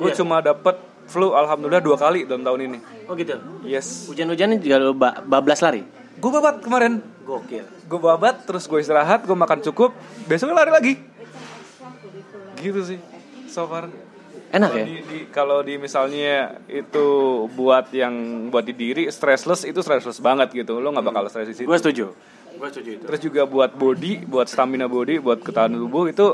C: Gue
B: Iya.
C: cuma dapet flu alhamdulillah dua kali dalam tahun ini.
B: Oh gitu.
C: Yes.
B: Hujan-hujannya juga lu ba- bablas lari.
C: Gue babat kemarin.
B: Gokil.
C: Gue babat, terus gue istirahat, gue makan cukup. Besoknya lari lagi. Gitu sih. So far.
B: Enak ya?
C: Kalau di- di- Kalau di misalnya itu buat yang buat di diri stressless itu stressless banget gitu. Lo nggak bakal stres di situ.
B: Gue setuju. Gue setuju itu.
C: Terus juga buat body, buat stamina body, buat ketahanan tubuh itu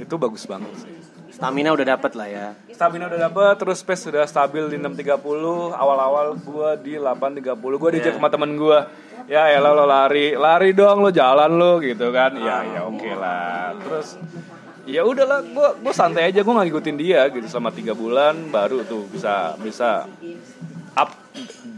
C: itu bagus banget sih.
B: Stamina udah dapet lah ya.
C: Stamina udah dapet, terus pace sudah stabil di 6.30 Awal-awal gue di 8.30 Gue diajak sama temen gue Ya elah lo lari, lari dong lo jalan lo gitu kan Ya ya oke lah Terus ya udahlah gue gue santai aja gue nggak ngikutin dia gitu selama tiga bulan baru tuh bisa bisa up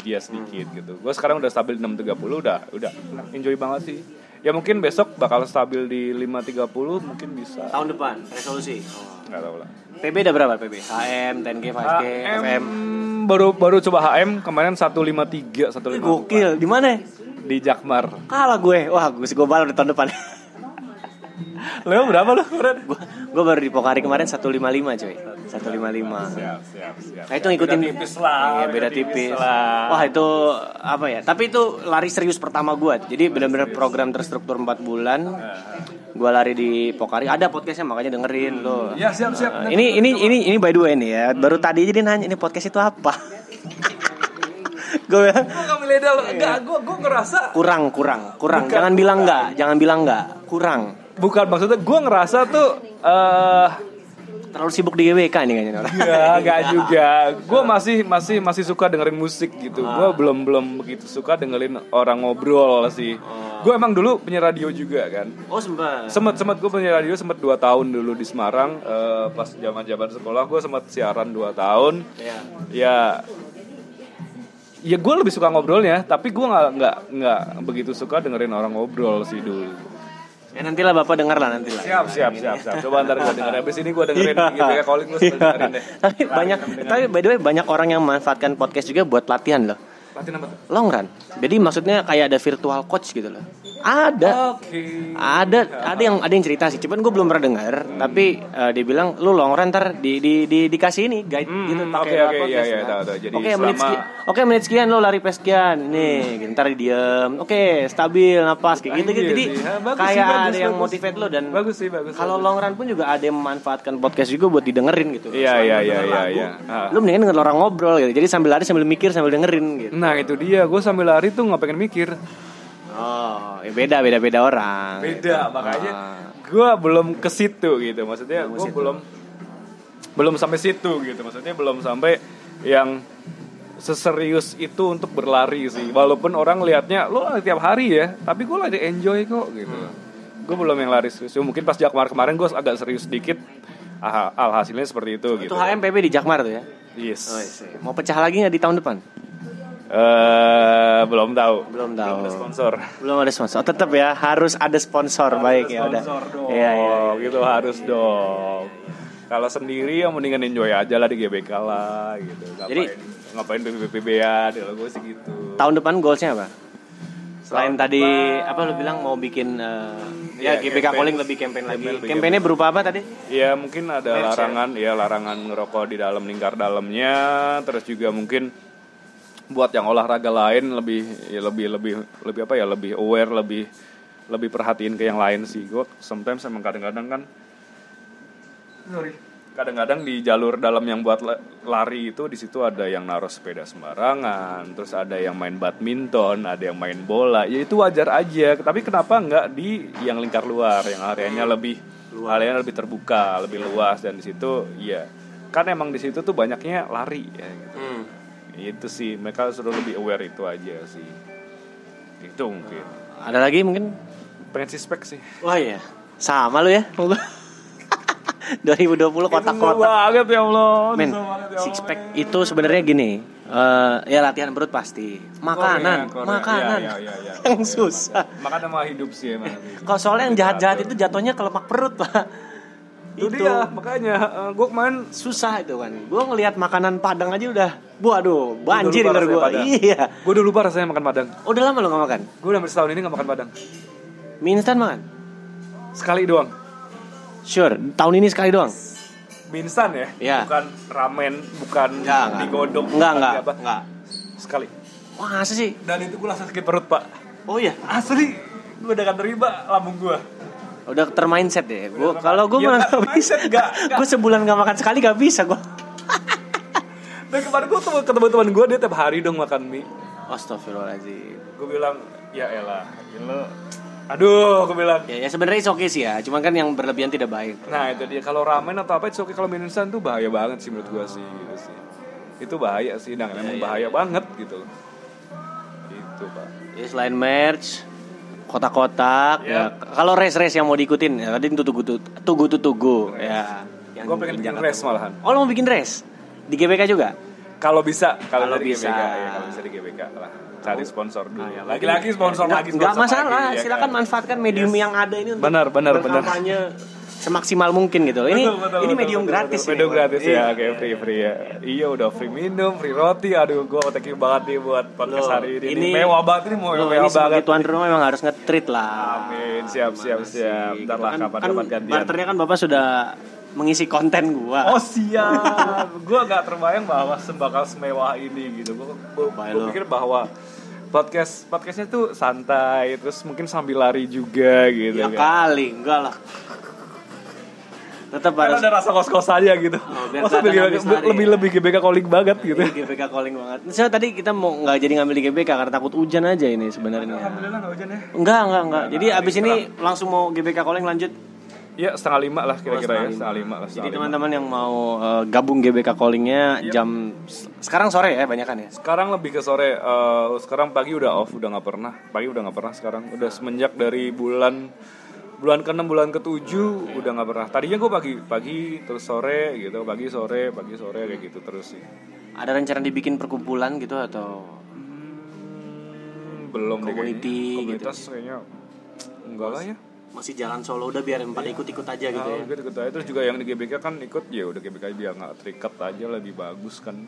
C: dia sedikit gitu gue sekarang udah stabil 6.30 udah udah enjoy banget sih ya mungkin besok bakal stabil di 5.30 mungkin bisa
B: Tahun depan resolusi.
C: nggak tahu lah
B: PB udah berapa PB? HM, 10K, 5K, FM.
C: HM baru baru coba HM kemarin
B: Ih,
C: 153 154
B: Gokil, di mana? ya?
C: di Jakmar.
B: Kalah gue. Wah, gue segobal udah tahun depan.
C: Lo berapa lo kemarin?
B: gue gue baru di Pokari kemarin 155 coy. 155.
C: Siap, siap, siap.
B: Nah, itu ngikutin
C: Beda tipis lah,
B: Iya, beda
C: beda tipis
B: tipis.
C: lah.
B: Wah, itu apa ya? Tapi itu lari serius pertama gue. Jadi benar-benar program terstruktur 4 bulan.
C: Eh,
B: Gue lari di Pokari. Ada podcastnya makanya dengerin lo.
C: Ya, siap,
B: Nah,
C: siap.
B: ini ini ini ini by the way nih ya.
C: Hmm.
B: Baru tadi aja dia nanya ini podcast itu apa. gue bilang,
C: Gua enggak milih dah lo. Enggak, gua gua ngerasa
B: kurang kurang kurang. jangan bilang enggak, jangan bilang enggak. Kurang.
C: bukan maksudnya gua ngerasa tuh eh
B: Terlalu sibuk di GBK nih kayaknya orang.
C: ya enggak juga. Gua masih masih masih suka dengerin musik gitu. Gua belum belum begitu suka dengerin orang ngobrol sih. Gua emang dulu punya radio juga kan.
B: Oh sempat.
C: Sempet sempet gue punya radio sempet 2 tahun dulu di Semarang eh, pas zaman zaman sekolah gue sempet siaran 2 tahun
B: Iya.
C: ya ya gue lebih suka ngobrolnya tapi gue nggak nggak nggak begitu suka dengerin orang ngobrol sih dulu
B: Ya nantilah Bapak dengar lah nantilah.
C: siap siap siap siap coba ntar gue dengerin abis ini gue dengerin GBK calling terus
B: Iya.
C: dengerin deh
B: Tapi banyak tapi by the way banyak orang yang manfaatkan podcast juga buat latihan loh.
C: Latihan apa tuh?
B: Long run. Jadi maksudnya kayak ada virtual coach gitu loh. Ada.
C: Oke.
B: Ada ada yang ada yang cerita sih, cuman gue belum pernah dengar. Tapi eh, dia bilang lu long run ntar di di di dikasih ini guide
C: Hmm,
B: gitu
C: hmm,
B: pakai
C: oke,
B: alat
C: oke,
B: podcast,
C: iya, iya,
B: kan.
C: tahu, tahu. Jadi
B: Oke menit
C: selama-
B: sekian, oke menit sekian lo lari pes sekian nih, gitu, ntar diem. Oke stabil napas kayak gitu gitu.
C: Anjir,
B: Jadi
C: iya. Bagus sih,
B: kayak
C: bagus,
B: ada yang
C: bagus.
B: motivate lo dan
C: Bagus sih, bagus,
B: Kalau long run pun juga ada yang memanfaatkan podcast juga buat didengerin gitu.
C: iya iya iya iya iya Ah.
B: Lo mendingan denger orang ngobrol gitu. Jadi sambil lari sambil mikir sambil dengerin gitu.
C: nah itu dia gue sambil lari tuh nggak pengen mikir
B: Oh, ya beda beda beda orang.
C: beda makanya gue belum ke situ gitu maksudnya gue belum belum sampai situ gitu maksudnya belum sampai yang seserius itu untuk berlari sih walaupun orang liatnya lo lari tiap hari ya tapi gue lari enjoy kok gitu gue belum yang lari serius mungkin pas jakmar kemarin gue agak serius dikit ah, alhasilnya seperti itu
B: Itu
C: gitu
B: HMPB di Jakmar tuh ya.
C: yes
B: Mau pecah lagi nggak di tahun depan?
C: Eh, belum tahu
B: Belum tahu.
C: ada sponsor
B: Belum ada sponsor. Oh, tetap ya harus ada sponsor baik ya udah. Iya iya.
C: Oh, gitu harus dong. Kalau sendiri ya mendingan enjoy aja lah di GBK lah gitu. Ngapain,
B: Jadi-
C: ngapain PBB-an kalau gue sih gitu.
B: Tahun depan goalsnya apa? Selain tadi apa lu bilang mau bikin eh, ya
C: Iya,
B: GBK
C: campaign.
B: calling lebih campaign lagi.
C: Campaign lebih
B: Campaignnya berupa apa tadi?
C: Ya mungkin ada larangan ya larangan ngerokok di dalam lingkar dalamnya, terus juga mungkin buat yang olahraga lain lebih ya lebih lebih lebih apa ya lebih aware lebih lebih perhatiin ke yang lain sih gue sometimes emang kadang-kadang kan kadang-kadang di jalur dalam yang buat la- lari itu di situ ada yang naruh sepeda sembarangan terus ada yang main badminton ada yang main bola ya itu wajar aja tapi kenapa nggak di yang lingkar luar yang areanya lebih areanya lebih terbuka iya. lebih luas dan di situ ya kan emang di situ tuh banyaknya lari ya gitu itu sih mereka sudah lebih aware itu aja sih itu mungkin
B: Ada lagi mungkin?
C: pengen sispek sih
B: Wah iya. Sama lu ya. 2020
C: Susah
B: kotak-kotak.
C: banget ya Allah susah
B: Men,
C: banget ya
B: six
C: Allah,
B: pack itu sebenarnya gini. eh, ya latihan perut pasti. Makanan,
C: Korea, Korea.
B: makanan.
C: Ya, ya, ya, ya.
B: yang
C: Ya,
B: susah.
C: makan sama hidup sih emang sih.
B: Kalau soalnya yang jahat-jahat itu jatuhnya ke lemak perut, Pak.
C: Iya, itu dia makanya eh, gue kemarin
B: susah itu kan gue ngelihat makanan padang aja udah bu aduh banjir ntar gue iya
C: gue udah lupa rasanya makan padang
B: udah lama lo gak makan
C: gue udah hampir setahun ini gak makan padang
B: mie instan makan
C: sekali doang
B: sure tahun ini sekali doang
C: mie instan ya
B: Iya.
C: bukan ramen bukan
B: Enggak, enggak.
C: digodok
B: enggak
C: bukan
B: enggak
C: apa.
B: enggak
C: sekali
B: wah masa sih
C: dan itu gue langsung sakit perut pak
B: oh iya
C: asli gue udah gak terima lambung gue
B: udah termindset deh gua kalau gue
C: Ya,
B: malah
C: nggak,
B: nggak bisa
C: mindset nggak, nggak.
B: gue sebulan gak makan sekali gak bisa gue
C: dan kemarin gue ketemu ke teman-teman gue dia tiap hari dong makan mie
B: Astagfirullahaladzim
C: gue bilang ya elah gila aduh gue bilang
B: ya, ya sebenarnya oke sih ya cuman kan yang berlebihan tidak baik
C: Nah itu dia kalau ramen atau apa itu oke kalau mie instan tuh bahaya banget sih menurut gua sih gitu sih. Itu bahaya sih, nah
B: Iya,
C: emang bahaya banget gitu. Gitu pak.
B: Jadi Iya, selain merch, kotak-kotak,
C: Iya.
B: ya. Kalau race-race yang mau diikutin, ya tadi tugu-tugu, tugu-tugu, ya. Yang
C: Gua pengen bikin
B: Jakarta.
C: race malahan.
B: Oh, lo mau bikin race di GBK juga?
C: Kalau bisa, kalau
B: Kalau
C: dari
B: bisa. Ah, iya,
C: GBK ya, kalau bisa di GBK lah. Cari sponsor dulu. Lagi-lagi sponsor
B: Nggak-
C: lagi.
B: nggak
C: sponsor
B: masalah,
C: lagi, ya
B: silakan
C: kan?
B: manfaatkan medium yang ada ini untuk
C: Benar, benar, benar.
B: berkampanye semaksimal mungkin gitu. Ini
C: Betul, betul,
B: ini
C: betul,
B: medium
C: betul,
B: gratis.
C: betul. Medium
B: ini, Iya.
C: gratis
B: Bang.
C: ya, oke free free ya. Iya udah free minum, free roti. Aduh, gua thank you banget nih buat podcast
B: Loh,
C: hari ini.
B: ini-
C: mewah banget ini,
B: Loh,
C: mewah,
B: ini
C: mewah
B: sebagai
C: banget.
B: tuan rumah memang harus nge-treat lah.
C: Amin, siap siap siap. Ntar lah
B: Kan,
C: kapan
B: kan
C: kapan gantian.
B: barternya kan Bapak sudah mengisi konten gua.
C: Oh siap, gue gak terbayang bahwa sembakal semewah ini gitu. Gue
B: Baik lo.
C: pikir bahwa podcast podcastnya tuh santai, terus mungkin sambil lari juga gitu.
B: Ya
C: kan.
B: kali, enggak lah. Tetap
C: Karena
B: harus
C: Kan ada rasa kos kosannya gitu.
B: biar
C: Oh, sambil
B: kelihatan
C: GBK
B: habis lari Iya.
C: lebih
B: ya.
C: lebih GBK calling banget gitu.
B: Ini GBK calling banget. Soalnya tadi kita mau nggak jadi ngambil di GBK karena takut hujan aja ini sebenarnya.
C: Alhamdulillah gak hujan ya.
B: Enggak, enggak, enggak. Jadi abis ini langsung mau GBK calling lanjut.
C: Ya setengah lima lah kira-kira ya, setengah lima
B: Oh,
C: lah.
B: Jadi
C: Setengah lima.
B: teman-teman yang mau eh, gabung GBK callingnya jam sekarang sore ya banyak kan ya.
C: Sekarang lebih ke sore. eh, sekarang pagi udah off, udah nggak pernah. Pagi udah nggak pernah. Sekarang udah semenjak dari bulan bulan ke-6 bulan ke-7 udah nggak pernah. Tadinya gue pagi pagi terus sore gitu, pagi sore, pagi sore kayak gitu terus sih.
B: Ada rencana dibikin perkumpulan gitu atau
C: Hmm, belum deh kayaknya.
B: Community gitu.
C: komunitas kayaknya enggak lah ya.
B: masih jalan solo udah biar yang pada ikut-ikut aja gitu ya.
C: Nah, ikut ikut aja. Terus juga yang di GBK kan ikut ya udah GBK biar nggak terikat aja lebih bagus kan.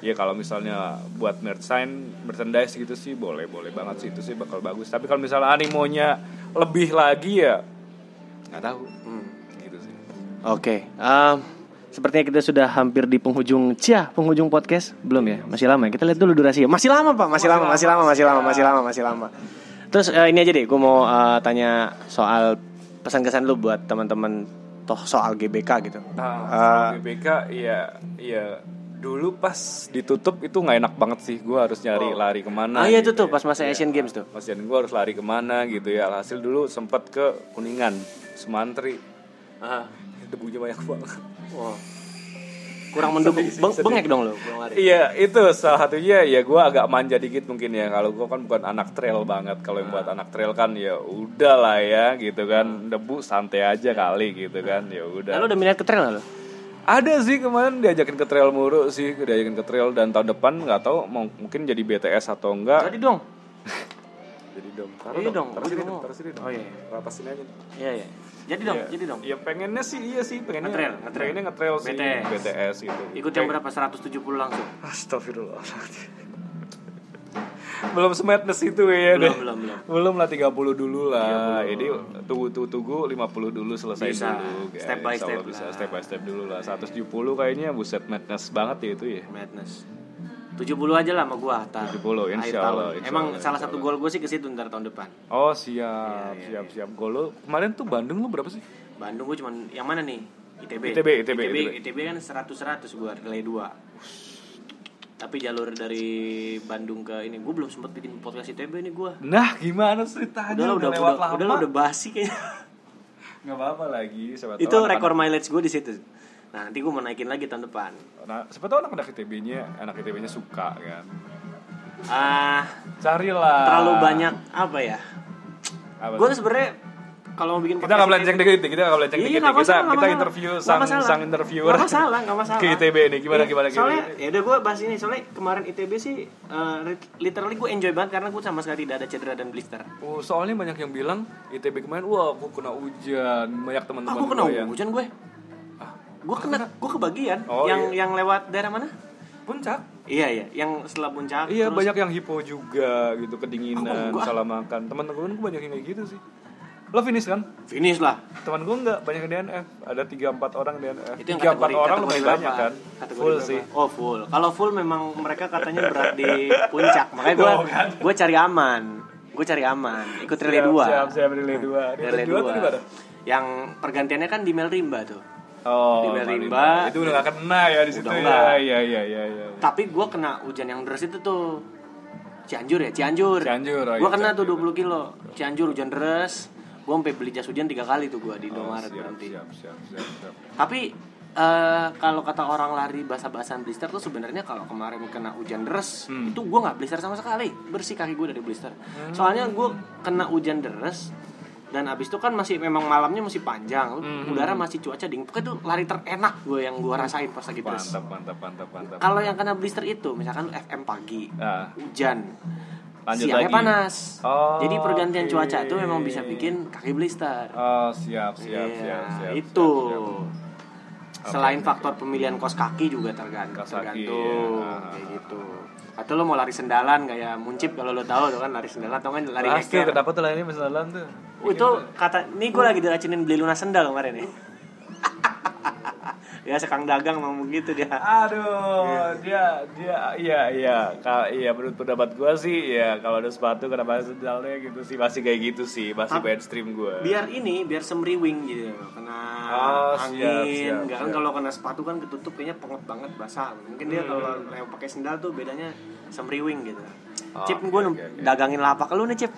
C: Ya kalau misalnya buat merchandise, merchandise gitu sih boleh boleh banget sih itu sih bakal bagus. Tapi kalau misalnya animonya lebih lagi ya nggak tahu. Gitu sih.
B: Oke, em, sepertinya kita sudah hampir di penghujung Cia, penghujung podcast belum ya? Masih lama ya? Kita lihat dulu durasinya. Masih lama pak, masih, lama, masih lama, masih lama, masih lama, masih lama. Terus eh, ini aja deh, gue mau eh, tanya soal pesan kesan lu buat teman-teman toh soal GBK gitu.
C: Nah, soal GBK ya ya dulu pas ditutup itu nggak enak banget sih. Gue harus nyari lari
B: Ah
C: kemana.
B: iya itu tuh
C: gitu
B: pas masa Asian Games tuh.
C: Mas Jan gue harus lari kemana gitu ya Alhasil dulu sempat ke Kuningan Semantri Ah. Debunya banyak banget
B: Wah. Kurang mendukung, Beng- bengek dong lu. belum lari.
C: Iya itu salah satunya ya gue agak manja dikit mungkin ya Kalau gue kan bukan anak trail banget Kalau
B: Ah.
C: yang buat anak trail kan ya udah lah ya gitu kan Debu santai aja kali gitu kan ya
B: Nah,
C: udah
B: lu udah minat ke trail nggak lu?
C: ada sih kemarin diajakin ke trail muru sih diajakin ke trail dan tahun depan nggak tahu mau mungkin jadi BTS atau enggak
B: Tadi dong.
C: jadi dong taruh
B: Iya dong. gua
C: taruh sini
B: juga
C: dong
B: mau.
C: taruh sini dong
B: Oh iya.
C: ratasin aja
B: Iya iya. Jadi dong,
C: Iya.
B: jadi dong.
C: Ya pengennya sih iya sih, pengennya
B: Nge-trail, nge-trail.
C: pengennya nge-trail sih
B: BTS.
C: BTS gitu.
B: Ikut yang berapa? 170 langsung.
C: Astagfirullahaladzim. belum semadness itu ya
B: Belum,
C: deh.
B: belum, belum.
C: Belum lah 30 dulu lah. Ini tunggu tunggu tunggu 50 dulu selesai
B: Bisa.
C: dulu. guys.
B: Step by
C: Insya Allah
B: step
C: bisa
B: lah.
C: step by step dulu lah. 170 kayaknya buset madness banget ya itu ya.
B: Madness. 70 aja lah sama gua tar.
C: 70,
B: Akhir
C: insya
B: tahun.
C: Allah, insya
B: Emang
C: Allah,
B: salah
C: insya
B: satu gol gue sih ke situ ntar tahun depan.
C: Oh, siap, siap, siap. Gol lo kemarin tuh Bandung lu berapa sih?
B: Bandung gue cuman yang mana nih? ITB.
C: ITB, ITB,
B: ITB,
C: ITB.
B: ITB kan 100 100 gua relay 2. Tapi jalur dari Bandung ke ini gue belum sempat bikin podcast ITB ini gua.
C: Nah, gimana ceritanya?
B: Udah lah udah
C: lewat
B: udah,
C: lama.
B: udah lah udah basi kayaknya.
C: Nggak apa-apa lagi, siapa tahu
B: Itu
C: anak-anak
B: rekor mileage gue di situ. Nah, nanti gue mau naikin lagi tahun depan.
C: Nah, siapa tahu anak-anak ITB-nya, anak ITB-nya suka kan.
B: Ah,
C: Carilah.
B: terlalu banyak apa ya?
C: Ah. Apa
B: Gue
C: tuh?
B: sebenarnya kalau mau bikin
C: kita nggak belanceng dikit, kita nggak belanceng
B: Iya,
C: dikit.
B: nggak
C: Kita
B: masalah, nggak
C: kita
B: masalah.
C: interview
B: Nggak
C: sang
B: masalah.
C: sang interviewer.
B: Nggak masalah, nggak masalah.
C: Ke ITB nih, gimana
B: Iya,
C: gimana gitu? gimana.
B: Soalnya, ya udah gue bahas ini. Soalnya kemarin ITB sih, eh, lit- literally gue enjoy banget karena gue sama sekali tidak ada cedera dan blister.
C: Oh, soalnya banyak yang bilang ITB kemarin, wah aku kena hujan, banyak teman-teman
B: Aku kena
C: gua ya. yang-
B: hujan gue. Gue kena, gue kebagian.
C: Oh,
B: yang yang lewat daerah mana?
C: puncak.
B: Iya iya, yang setelah puncak.
C: Iya,
B: terus-
C: banyak yang hipo juga gitu, kedinginan,
B: Aku- gua-
C: salah makan. Teman-teman gue banyak yang kayak gitu sih. Lo finish kan?
B: Finish lah.
C: Teman gue nggak banyak yang DNF, ada 3-4 orang DNF.
B: Itu yang
C: 3-4
B: kategori-
C: orang
B: kategori
C: lumayan
B: berapa?
C: banyak kan?
B: Kategori
C: Full
B: berapa?
C: sih.
B: Oh full. Kalau full memang mereka katanya berat di puncak. Makanya gue
C: Oh, kan?
B: gue cari aman. Gue cari aman. Ikut relay
C: Siap,
B: dua.
C: Siap, siap, relay 2. Relay
B: Relay
C: 2 tuh di mana?
B: dua. Yang pergantiannya kan di Melrimba tuh.
C: Oh,
B: Di Melrimba.
C: Melrimba. Itu udah gak kena ya di situ
B: nggak.
C: ya. Iya, iya, iya, iya.
B: Tapi gue kena hujan yang deras itu tuh. Cianjur ya, Cianjur.
C: Cianjur, oh
B: Gue
C: iya,
B: kena tuh 20 kilo. Cianjur hujan deras. Gue sampai beli jas hujan tiga kali tuh gue di Indomaret
C: Oh, Siap,
B: berhenti.
C: siap, siap, siap, siap.
B: Tapi eh, kalau kata orang lari basah-basahan blister tuh sebenarnya kalau kemarin kena hujan deras
C: Hmm.
B: itu gue nggak blister sama sekali bersih kaki gue dari blister. Soalnya gue kena hujan deras dan abis itu kan masih memang malamnya masih panjang,
C: Hmm.
B: udara masih cuaca dingin. Pokoknya itu lari terenak gue yang gue rasain pas lagi deras.
C: Mantap, mantap, mantap, mantap.
B: Kalau yang kena blister itu misalkan lu FM pagi,
C: Ah.
B: hujan,
C: Lanjut
B: siangnya
C: lagi.
B: panas.
C: Oh,
B: Jadi pergantian
C: oke.
B: cuaca itu memang bisa bikin kaki blister.
C: Oh, siap, siap,
B: Iya,
C: siap, siap.
B: itu
C: siap, siap.
B: selain faktor pemilihan kos kaki juga tergantung
C: Kos kaki,
B: tergantung
C: iya.
B: kayak gitu atau lo mau lari sendalan kayak muncip kalau lo tahu tuh kan lari sendalan atau kan lari
C: Pasti
B: eker
C: kenapa tuh lainnya bisa dalam tuh?
B: Oh, itu kata ini gue lagi diracinin beli lunas sendal kemarin ya ya sekang dagang memang begitu dia Iya.
C: Aduh, dia dia iya iya kalau iya menurut pendapat gua sih ya kalau ada sepatu kenapa sendalnya gitu sih masih kayak gitu sih masih mainstream gua.
B: biar ini biar semriwing gitu kena
C: Oh, siap, siap,
B: angin nggak kan
C: siap.
B: kalau kena sepatu kan ketutup kayaknya penget banget basah mungkin dia kalau
C: Hmm.
B: lewat pakai sendal tuh bedanya semriwing gitu
C: Oh,
B: Cip, gue dagangin lapak lu nih Cip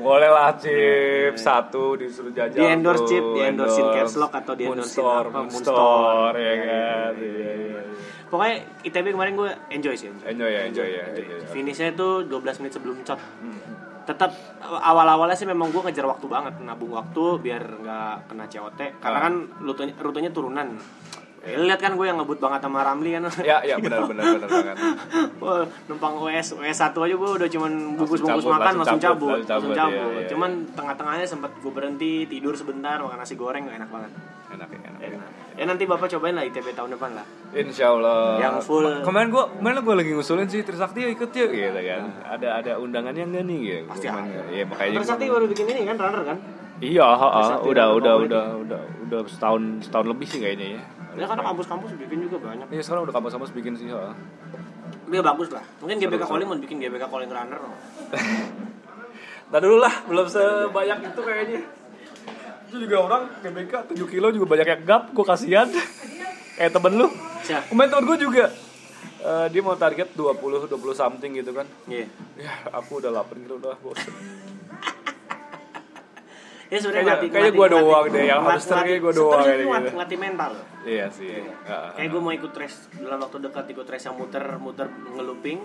C: Boleh lah chip satu disuruh jajan.
B: Iya, Di endorse,
C: tuh,
B: Cip, di endorsein
C: endorse.
B: caps lock atau di endorsein
C: Moonstore,
B: apa,
C: Moonstore,
B: Moonstore.
C: ya kan. Iya, iya.
B: Pokoknya ITB kemarin gue enjoy sih enjoy.
C: Enjoy ya, enjoy ya. enjoy ya. Hmm,
B: Finishnya itu 12 menit sebelum shot Tetap awal-awalnya sih memang gue ngejar waktu banget Nabung waktu biar nggak kena COT
C: Ah.
B: Karena kan rutenya, rutenya turunan Ya, lu Lihat kan gue yang ngebut banget sama Ramli kan
C: Ya, ya benar benar benar banget.
B: Wah, Numpang US, US 1 aja gue udah cuman bungkus-bungkus
C: cabut,
B: makan langsung
C: langsung cabut,
B: cabut
C: langsung cabut,
B: Langsung
C: iya,
B: cabut
C: iya,
B: Cuman tengah-tengahnya sempet gue berhenti tidur sebentar makan nasi goreng nggak enak banget
C: Enak ya, enak. ya.
B: Enak. Ya nanti bapak cobain lah ITB tahun depan lah
C: Insya Allah.
B: Yang full.
C: Ma- Kemarin gua, kemarin gua lagi ngusulin sih Trisakti yuk ikut yuk gitu kan. Ada ada undangannya enggak nih gitu.
B: Pasti
C: Cuman,
B: ada.
C: Iya makanya.
B: Terus
C: gua-
B: nanti baru bikin ini kan runner kan
C: Iya, ha, ha,
B: Trisakti
C: udah
B: udah
C: udah
B: mau
C: udah udah udah setahun setahun lebih sih kayaknya ya.
B: Ya kan kampus-kampus bikin juga banyak
C: Iya sekarang udah kampus-kampus bikin sih. ha.
B: Dia bagus lah. Mungkin GBK Calling mau bikin GBK Calling Runner.
C: Ntar dulu lah, belum sebanyak itu kayaknya. Itu juga orang GBK 7 kilo juga banyak yang gap, gue kasihan. Kayak temen lu.
B: Siap.
C: Kemarin temen gue juga. eh, dia mau target 20, 20 something gitu kan.
B: Iya.
C: Ya, aku udah 8 kilo udah bosen.
B: Ya sebenarnya
C: Kayaknya-
B: ngelatih-
C: kayaknya
B: ngelatih-
C: gua
B: ngelatih-
C: doang deh, yang
B: ngelatih-
C: hamster kayaknya gua
B: sebenarnya itu
C: doang kayak gitu.
B: ngelatih- Ngelatih mental. loh.
C: Iya sih. Ha, ha.
B: Kayak gue mau ikut race dalam waktu dekat ikut race yang muter-muter ngeluping.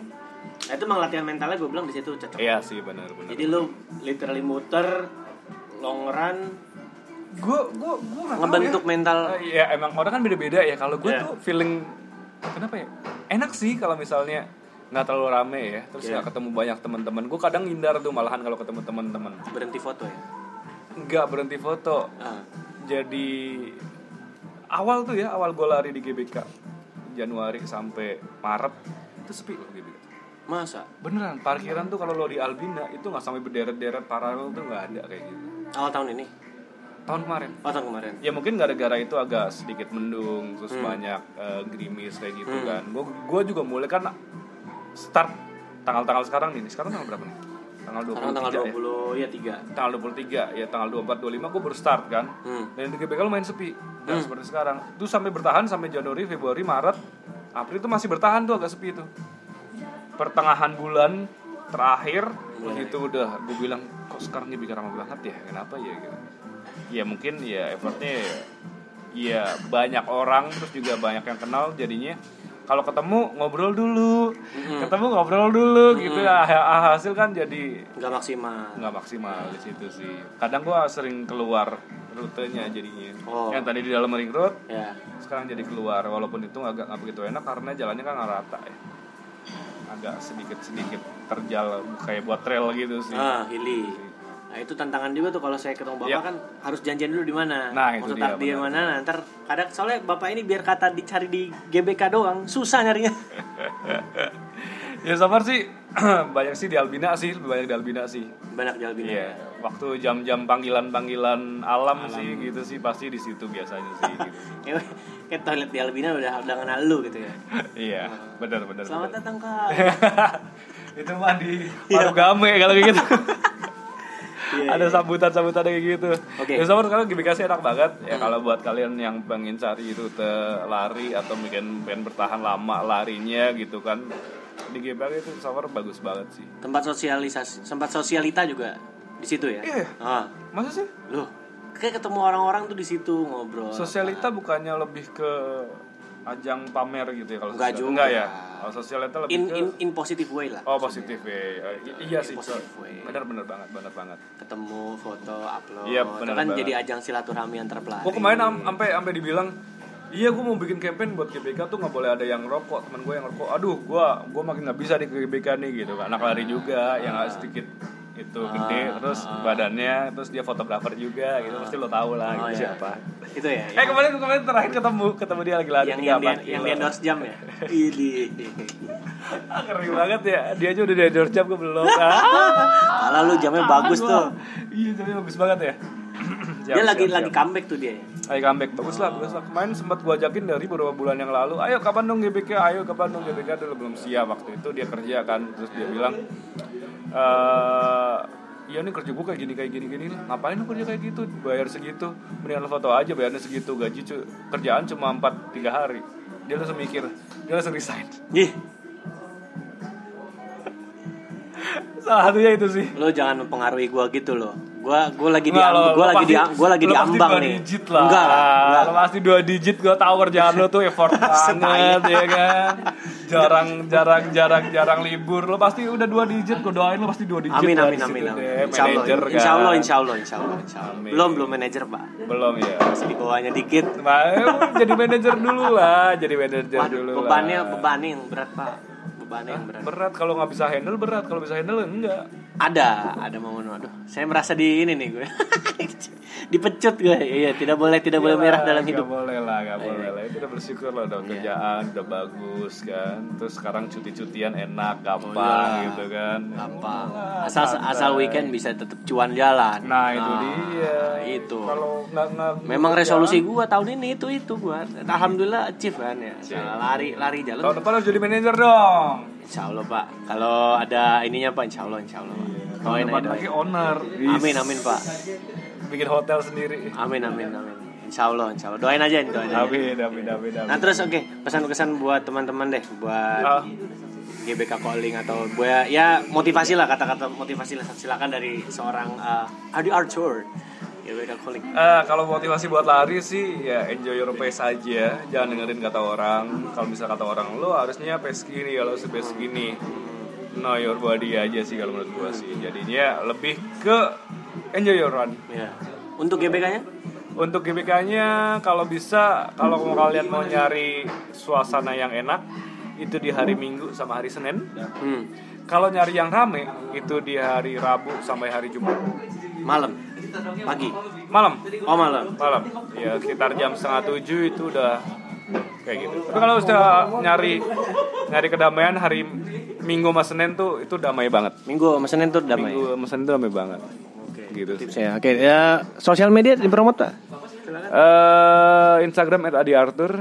B: Nah itu emang latihan mentalnya gue bilang di situ cocok.
C: Iya sih benar benar.
B: Jadi lu literally muter, long run,
C: gue gue gue
B: ngebentuk mental.
C: ya emang orang kan beda-beda ya kalau gue
B: Iya.
C: tuh feeling kenapa ya enak sih kalau misalnya nggak terlalu rame ya terus nggak ketemu banyak teman-teman gue kadang hindar tuh malahan kalau ketemu teman-teman
B: Berhenti foto ya.
C: nggak berhenti foto
B: Ah.
C: jadi awal tuh ya awal gue lari di GBK Januari sampai Maret itu sepi loh GBK
B: Masa?
C: beneran parkiran tuh kalau lo di Albina itu nggak sampai berderet-deret paralel tuh nggak ada kayak gitu
B: Awal tahun ini?
C: tahun kemarin
B: Oh tahun kemarin.
C: ya mungkin gara-gara itu agak sedikit mendung terus banyak eh, gerimis kayak gitu kan gue gue juga mulai kan start tanggal-tanggal sekarang nih sekarang tanggal berapa nih tanggal 23
B: Sekarang tanggal
C: ya
B: 20 ya 3.
C: tanggal 23 ya tanggal 24 25 gue baru start kan
B: Hmm.
C: dan di GBK lumayan sepi dan seperti sekarang itu sampai bertahan sampai Januari Februari Maret April itu masih bertahan tuh agak sepi itu pertengahan bulan terakhir terus itu udah gue bilang kok sekarang GBK ramai banget ya kenapa ya gitu ya mungkin ya effortnya ya, ya banyak orang terus juga banyak yang kenal jadinya kalau ketemu ngobrol dulu ketemu ngobrol dulu gitu ya Ah, hasil kan jadi
B: nggak maksimal
C: nggak maksimal di situ sih kadang gua sering keluar rutenya jadinya
B: Oh.
C: yang tadi di dalam ring road
B: ya
C: sekarang jadi keluar walaupun itu agak nggak begitu enak karena jalannya kan nggak rata ya agak sedikit sedikit terjal kayak buat trail gitu sih
B: ah hilly nah itu tantangan juga tuh kalau saya ketemu bapak
C: Iya.
B: kan harus janjian dulu di mana
C: Nah, itu
B: Maksud
C: dia,
B: takdir
C: benar.
B: mana nah, ntar kadang soalnya bapak ini biar kata dicari di GBK doang susah nyarinya
C: ya sabar sih banyak sih di Albina sih lebih banyak di Albina sih
B: banyak jalan bina
C: Iya, waktu jam-jam panggilan-panggilan alam, sih gitu sih pasti di situ biasanya sih gitu.
B: Kayak kayak toilet di Albina udah udah kenal lu gitu ya
C: Iya, benar benar.
B: selamat
C: benar.
B: datang kak
C: Itu mah di Marugame kalau kayak gitu.
B: Iya,
C: Ada sambutan-sambutan kayak gitu.
B: Oke. Hmm.
C: Ya sabar sekarang GBK sih enak banget. Ya kalau buat kalian yang pengen cari itu lari atau mungkin pengen bertahan lama larinya gitu kan. Di GBK itu sabar bagus banget sih.
B: tempat sosialisasi tempat sosialita juga di situ ya
C: Iya.
B: ah
C: Masa sih?
B: loh kayak ketemu orang-orang tuh di situ ngobrol
C: Sosialita bukannya lebih ke ajang pamer gitu ya kalau
B: Enggak
C: sosialita?
B: juga.
C: Enggak ya. Kalau sosialita lebih
B: in
C: ke
B: in in positive way lah
C: Oh positif ya. Eh, i- Iya sih.
B: Positive way.
C: Bener-bener banget, bener banget.
B: ketemu foto upload
C: Iya,
B: itu
C: benar
B: kan
C: banget.
B: jadi ajang silaturahmi antar pelari
C: Gue kemarin sampai sampai dibilang Iya, gue mau bikin campaign buat GBK tuh nggak boleh ada yang rokok. Temen gue yang rokok, aduh, gue gue makin nggak bisa di GBK nih gitu. Anak lari juga, yang agak sedikit itu
B: Ah.
C: gede, terus badannya, terus dia fotografer juga gitu. Pasti lo tau lah
B: Oh,
C: gitu
B: iya.
C: siapa.
B: itu ya
C: Eh kemarin kemarin terakhir ketemu ketemu dia lagi lari
B: yang yang
C: tiga
B: yang,
C: empat
B: di- yang
C: kilo.
B: di endorse jam ya ini
C: Ah, Ngeri banget ya, dia aja udah di endorse jam gue belum. Ah,
B: kalau lu jamnya bagus tuh
C: Iya, jamnya bagus banget ya. Siap,
B: dia lagi
C: siap,
B: lagi
C: siap.
B: comeback tuh dia ya.
C: Ayo comeback, bagus lah, bagus lah. Kemarin sempat gua ajakin dari beberapa bulan yang lalu, ayo kapan dong GBK, ayo kapan dong GBK, dulu belum siap waktu itu dia kerja kan, terus dia bilang, eh ya ini kerja gua kayak gini kayak gini gini, ngapain lu kerja kayak gitu, bayar segitu, mendingan lu foto aja bayarnya segitu, gaji cu- kerjaan cuma 4 tiga hari, dia langsung mikir, dia langsung resign.
B: Ih,
C: Salah satunya itu sih.
B: lo jangan mempengaruhi gua gitu loh. Gua gua lagi di
C: Enggak, lo-
B: gua
C: lo
B: lagi di
C: pasti-
B: gua lagi
C: lo
B: di
C: pasti
B: ambang
C: dua
B: nih.
C: digit lah.
B: Enggak lah, enggak.
C: Lo pasti dua digit gue tahu kerjaan lo tuh effort banget ya kan. Jarang jarang jarang jarang libur. Lo pasti udah dua digit. Gue doain lo pasti dua digit.
B: Amin
C: lah
B: amin
C: di
B: amin
C: situ
B: amin.
C: deh,
B: Insya Allah,
C: manajer kan.
B: insya Allah, insya Allah, insya Allah, insya Allah.
C: Amin.
B: Belum belum manajer pak.
C: Belum ya.
B: Masih di bawahnya dikit.
C: Nah, emang jadi manajer dulu lah, jadi manajer
B: Waduh,
C: dulu
B: bebannya
C: lah.
B: bebannya yang berat pak. Bebannya yang berat.
C: berat kalau nggak bisa handle berat kalau bisa handle enggak
B: Ada ada momen aduh. Saya merasa di ini nih gue. Dipecut gue. Iya tidak boleh tidak boleh merah dalam
C: Iya, Nggak
B: hidup. Iya.
C: boleh lah, nggak boleh lah. Itu udah bersyukur lah, udah kerjaan, udah bagus kan. Terus sekarang cuti-cutian
B: Oh,
C: enak, gampang
B: iya.
C: gitu kan.
B: Gampang. Asal asal weekend bisa tetap cuan jalan.
C: Nah itu dia.
B: itu.
C: Kalau nggak nggak.
B: Memang resolusi gua tahun ini itu itu gua. Alhamdulillah achieve kan ya. Salah lari lari
C: Tahun
B: jalan.
C: depan harus jadi manajer dong.
B: Insya Allah pak. Kalau ada ininya pak, Insya Allah Insya Allah. Pak.
C: Tahun
B: Doain
C: depan
B: aja,
C: lagi
B: doain.
C: owner.
B: Amin amin pak.
C: Bikin hotel sendiri.
B: Amin amin amin. Insya Allah Insya Allah. Doain aja doain aja.
C: Amin, amin, amin,
B: Nah
C: amin.
B: terus oke pesan kesan buat teman-teman deh
C: Ah.
B: buat GBK calling atau buat ya motivasi lah kata-kata motivasi lah silakan dari seorang eh, Adi Arthur GBK calling.
C: Eh, kalau motivasi buat lari sih ya enjoy your pace aja jangan dengerin kata orang kalau bisa kata orang lo harusnya pace gini kalau harus pace gini know your body aja sih kalau menurut gua sih jadinya lebih ke enjoy your run
B: Ya. Untuk GBK-nya?
C: untuk GBK-nya kalau bisa kalau mau kalian mau nyari suasana yang enak itu di hari Minggu sama hari Senin
B: Hmm.
C: kalau nyari yang rame itu di hari Rabu sampai hari Jumat
B: Malam. Pagi.
C: malam
B: Oh malam.
C: malam ya sekitar jam setengah tujuh itu udah kayak gitu tapi kalau sudah nyari nyari kedamaian hari minggu sama senin tuh itu damai banget
B: Minggu sama Senin tuh damai.
C: minggu sama senin tuh damai banget gitu sih.
B: Ya, oke. Ya, sosial media dipromot Pak?
C: Eh, Instagram at Adi Arthur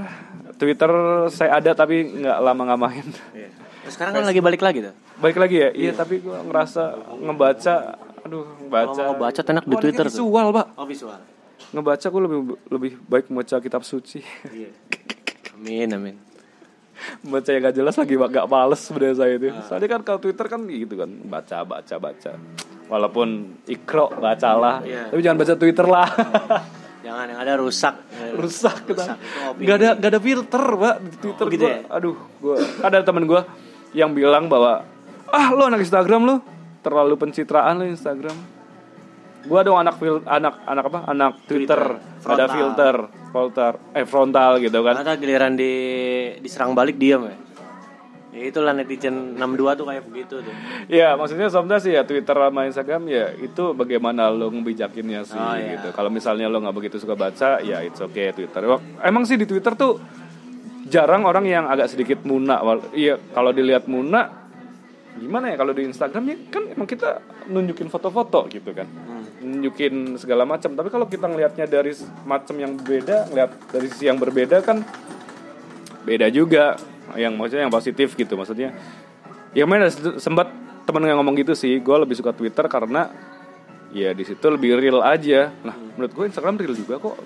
C: Twitter saya ada tapi nggak lama nggak main
B: Terus sekarang kan lagi balik lagi tuh.
C: Baik lagi ya iya tapi gua ngerasa ngebaca aduh ngebaca
B: Kalau mau baca enak Oh, di
C: Gua
B: Twitter
C: anaknya
B: tuh.
C: visual pak
B: Oh visual.
C: ngebaca gue lebih lebih baik membaca kitab suci
B: Iya. Amin amin.
C: baca yang gak jelas lagi gak males sebenarnya saya
B: Ah.
C: itu. Soalnya kan kalau Twitter kan gitu kan baca baca baca. Walaupun ikro bacalah,
B: Iya.
C: tapi jangan baca Twitter lah.
B: Jangan yang ada rusak.
C: rusak
D: Rusak,
C: kita. Gak ada gak ada filter, Pak, di Twitter
B: Oh, gitu
C: gua.
B: ya?
C: Aduh, gua ada teman gua yang bilang bahwa ah lo anak Instagram lo terlalu pencitraan lo Instagram. Gua dong anak fil- anak anak apa? Anak Twitter, ada
D: Frontal.
C: filter, frontal, eh frontal gitu kan.
B: Ternyata giliran di diserang balik diam ya. Ya itulah netizen 62 tuh kayak begitu tuh.
C: Ya maksudnya sometimes ya Twitter sama Instagram ya itu bagaimana lo ngebijakinnya sih gitu. Kalau misalnya lo nggak begitu suka baca ya it's okay Twitter. Wak- Emang sih di Twitter tuh jarang orang yang agak sedikit muna. Wal- Iya kalau dilihat muna gimana ya kalau di Instagram ya kan emang kita nunjukin foto-foto gitu kan nunjukin segala macam tapi kalau kita ngelihatnya dari s- macam yang beda ngelihat dari sisi yang berbeda kan beda juga yang maksudnya yang positif gitu maksudnya ya main ada sempat temen yang ngomong gitu sih gue lebih suka Twitter karena ya di situ lebih real aja nah menurut gue Instagram real juga kok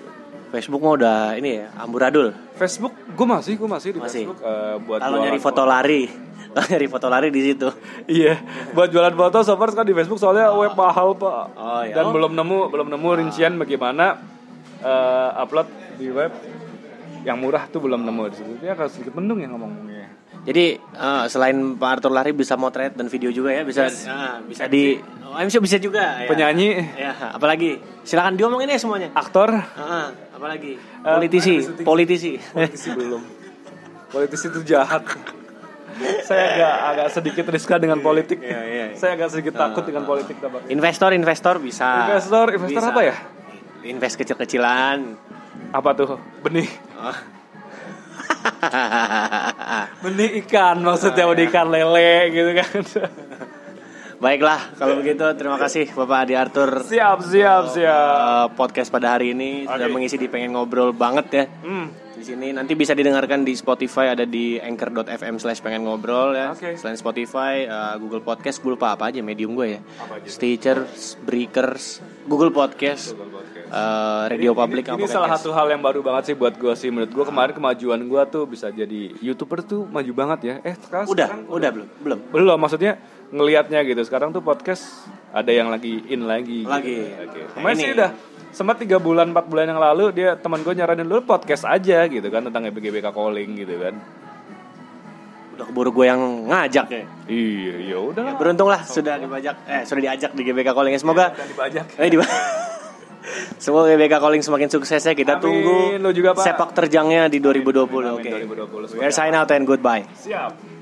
B: Facebook mah udah ini ya, amburadul.
C: Facebook gue masih gue masih di
B: Masih.
C: Facebook eh, buat
B: Kalau
C: jualan
B: nyari foto lari, kalau nyari foto lari di situ.
C: iya buat jualan foto so far sekarang di Facebook soalnya web mahal pak
B: Oh, iya.
C: dan belum nemu belum nemu rincian bagaimana eh, upload di web yang murah tuh belum nemu di situ dia agak sedikit mendung yang ngomongnya
B: Jadi eh, selain Pak Arthur lari bisa motret dan video juga ya, bisa ah, bisa di oh, MC bisa juga ya.
C: penyanyi
B: Ya, apalagi silakan diomongin ya semuanya.
C: aktor
B: Ah, apalagi
C: Eh,
B: politisi,
C: kemarin ada syuting.
B: politisi.
C: politisi belum politisi itu jahat saya agak agak sedikit riskan dengan politik saya agak sedikit takut dengan politik tampaknya.
B: investor, investor bisa.
C: investor investor
B: Bisa.
C: apa ya
B: Invest kecil-kecilan. Oh.
C: apa tuh benih benih ikan maksudnya benih ikan lele gitu kan
B: Baiklah, kalau begitu terima kasih Bapak Adi Arthur
C: siap siap
B: eh,
C: siap
B: podcast pada hari ini sudah mengisi di pengen ngobrol banget ya.
C: hmm.
B: Di sini nanti bisa didengarkan di Spotify ada di anchor.fm slash pengen ngobrol ya.
C: Oke.
B: Selain Spotify, eh, Google Podcast, gue lupa apa aja medium gue ya. Stitcher, Breakers, Google Podcast, eh, Radio Public,
C: ini
B: Pocket
C: salah
B: Cast.
C: satu hal yang baru banget sih buat gue sih menurut gue kemarin kemajuan gue tuh bisa jadi youtuber tuh maju banget ya eh sekarang
B: Udah, udah belum? Belum.
C: belum maksudnya ngelihatnya gitu sekarang tuh podcast ada yang lagi in lagi gitu.
B: Lagi. Nah,
C: Oke. kemarin
B: Ini.
C: sih udah sempat tiga bulan empat bulan yang lalu dia teman gue nyaranin dulu podcast aja gitu kan tentang EBGBK calling gitu kan
B: Udah keburu gue yang ngajak ya.
C: iya ya udah
B: Ya, beruntung lah sudah dibajak eh sudah diajak di GBK Calling. ya. Semoga
C: dibajak
B: eh, diba- Semoga GBK Calling semakin sukses ya. Kita
C: Amin.
B: tunggu
C: Lu juga, Pak.
B: sepak terjangnya di 2020. Oke.
C: 2020
B: We are sign out and goodbye.
C: siap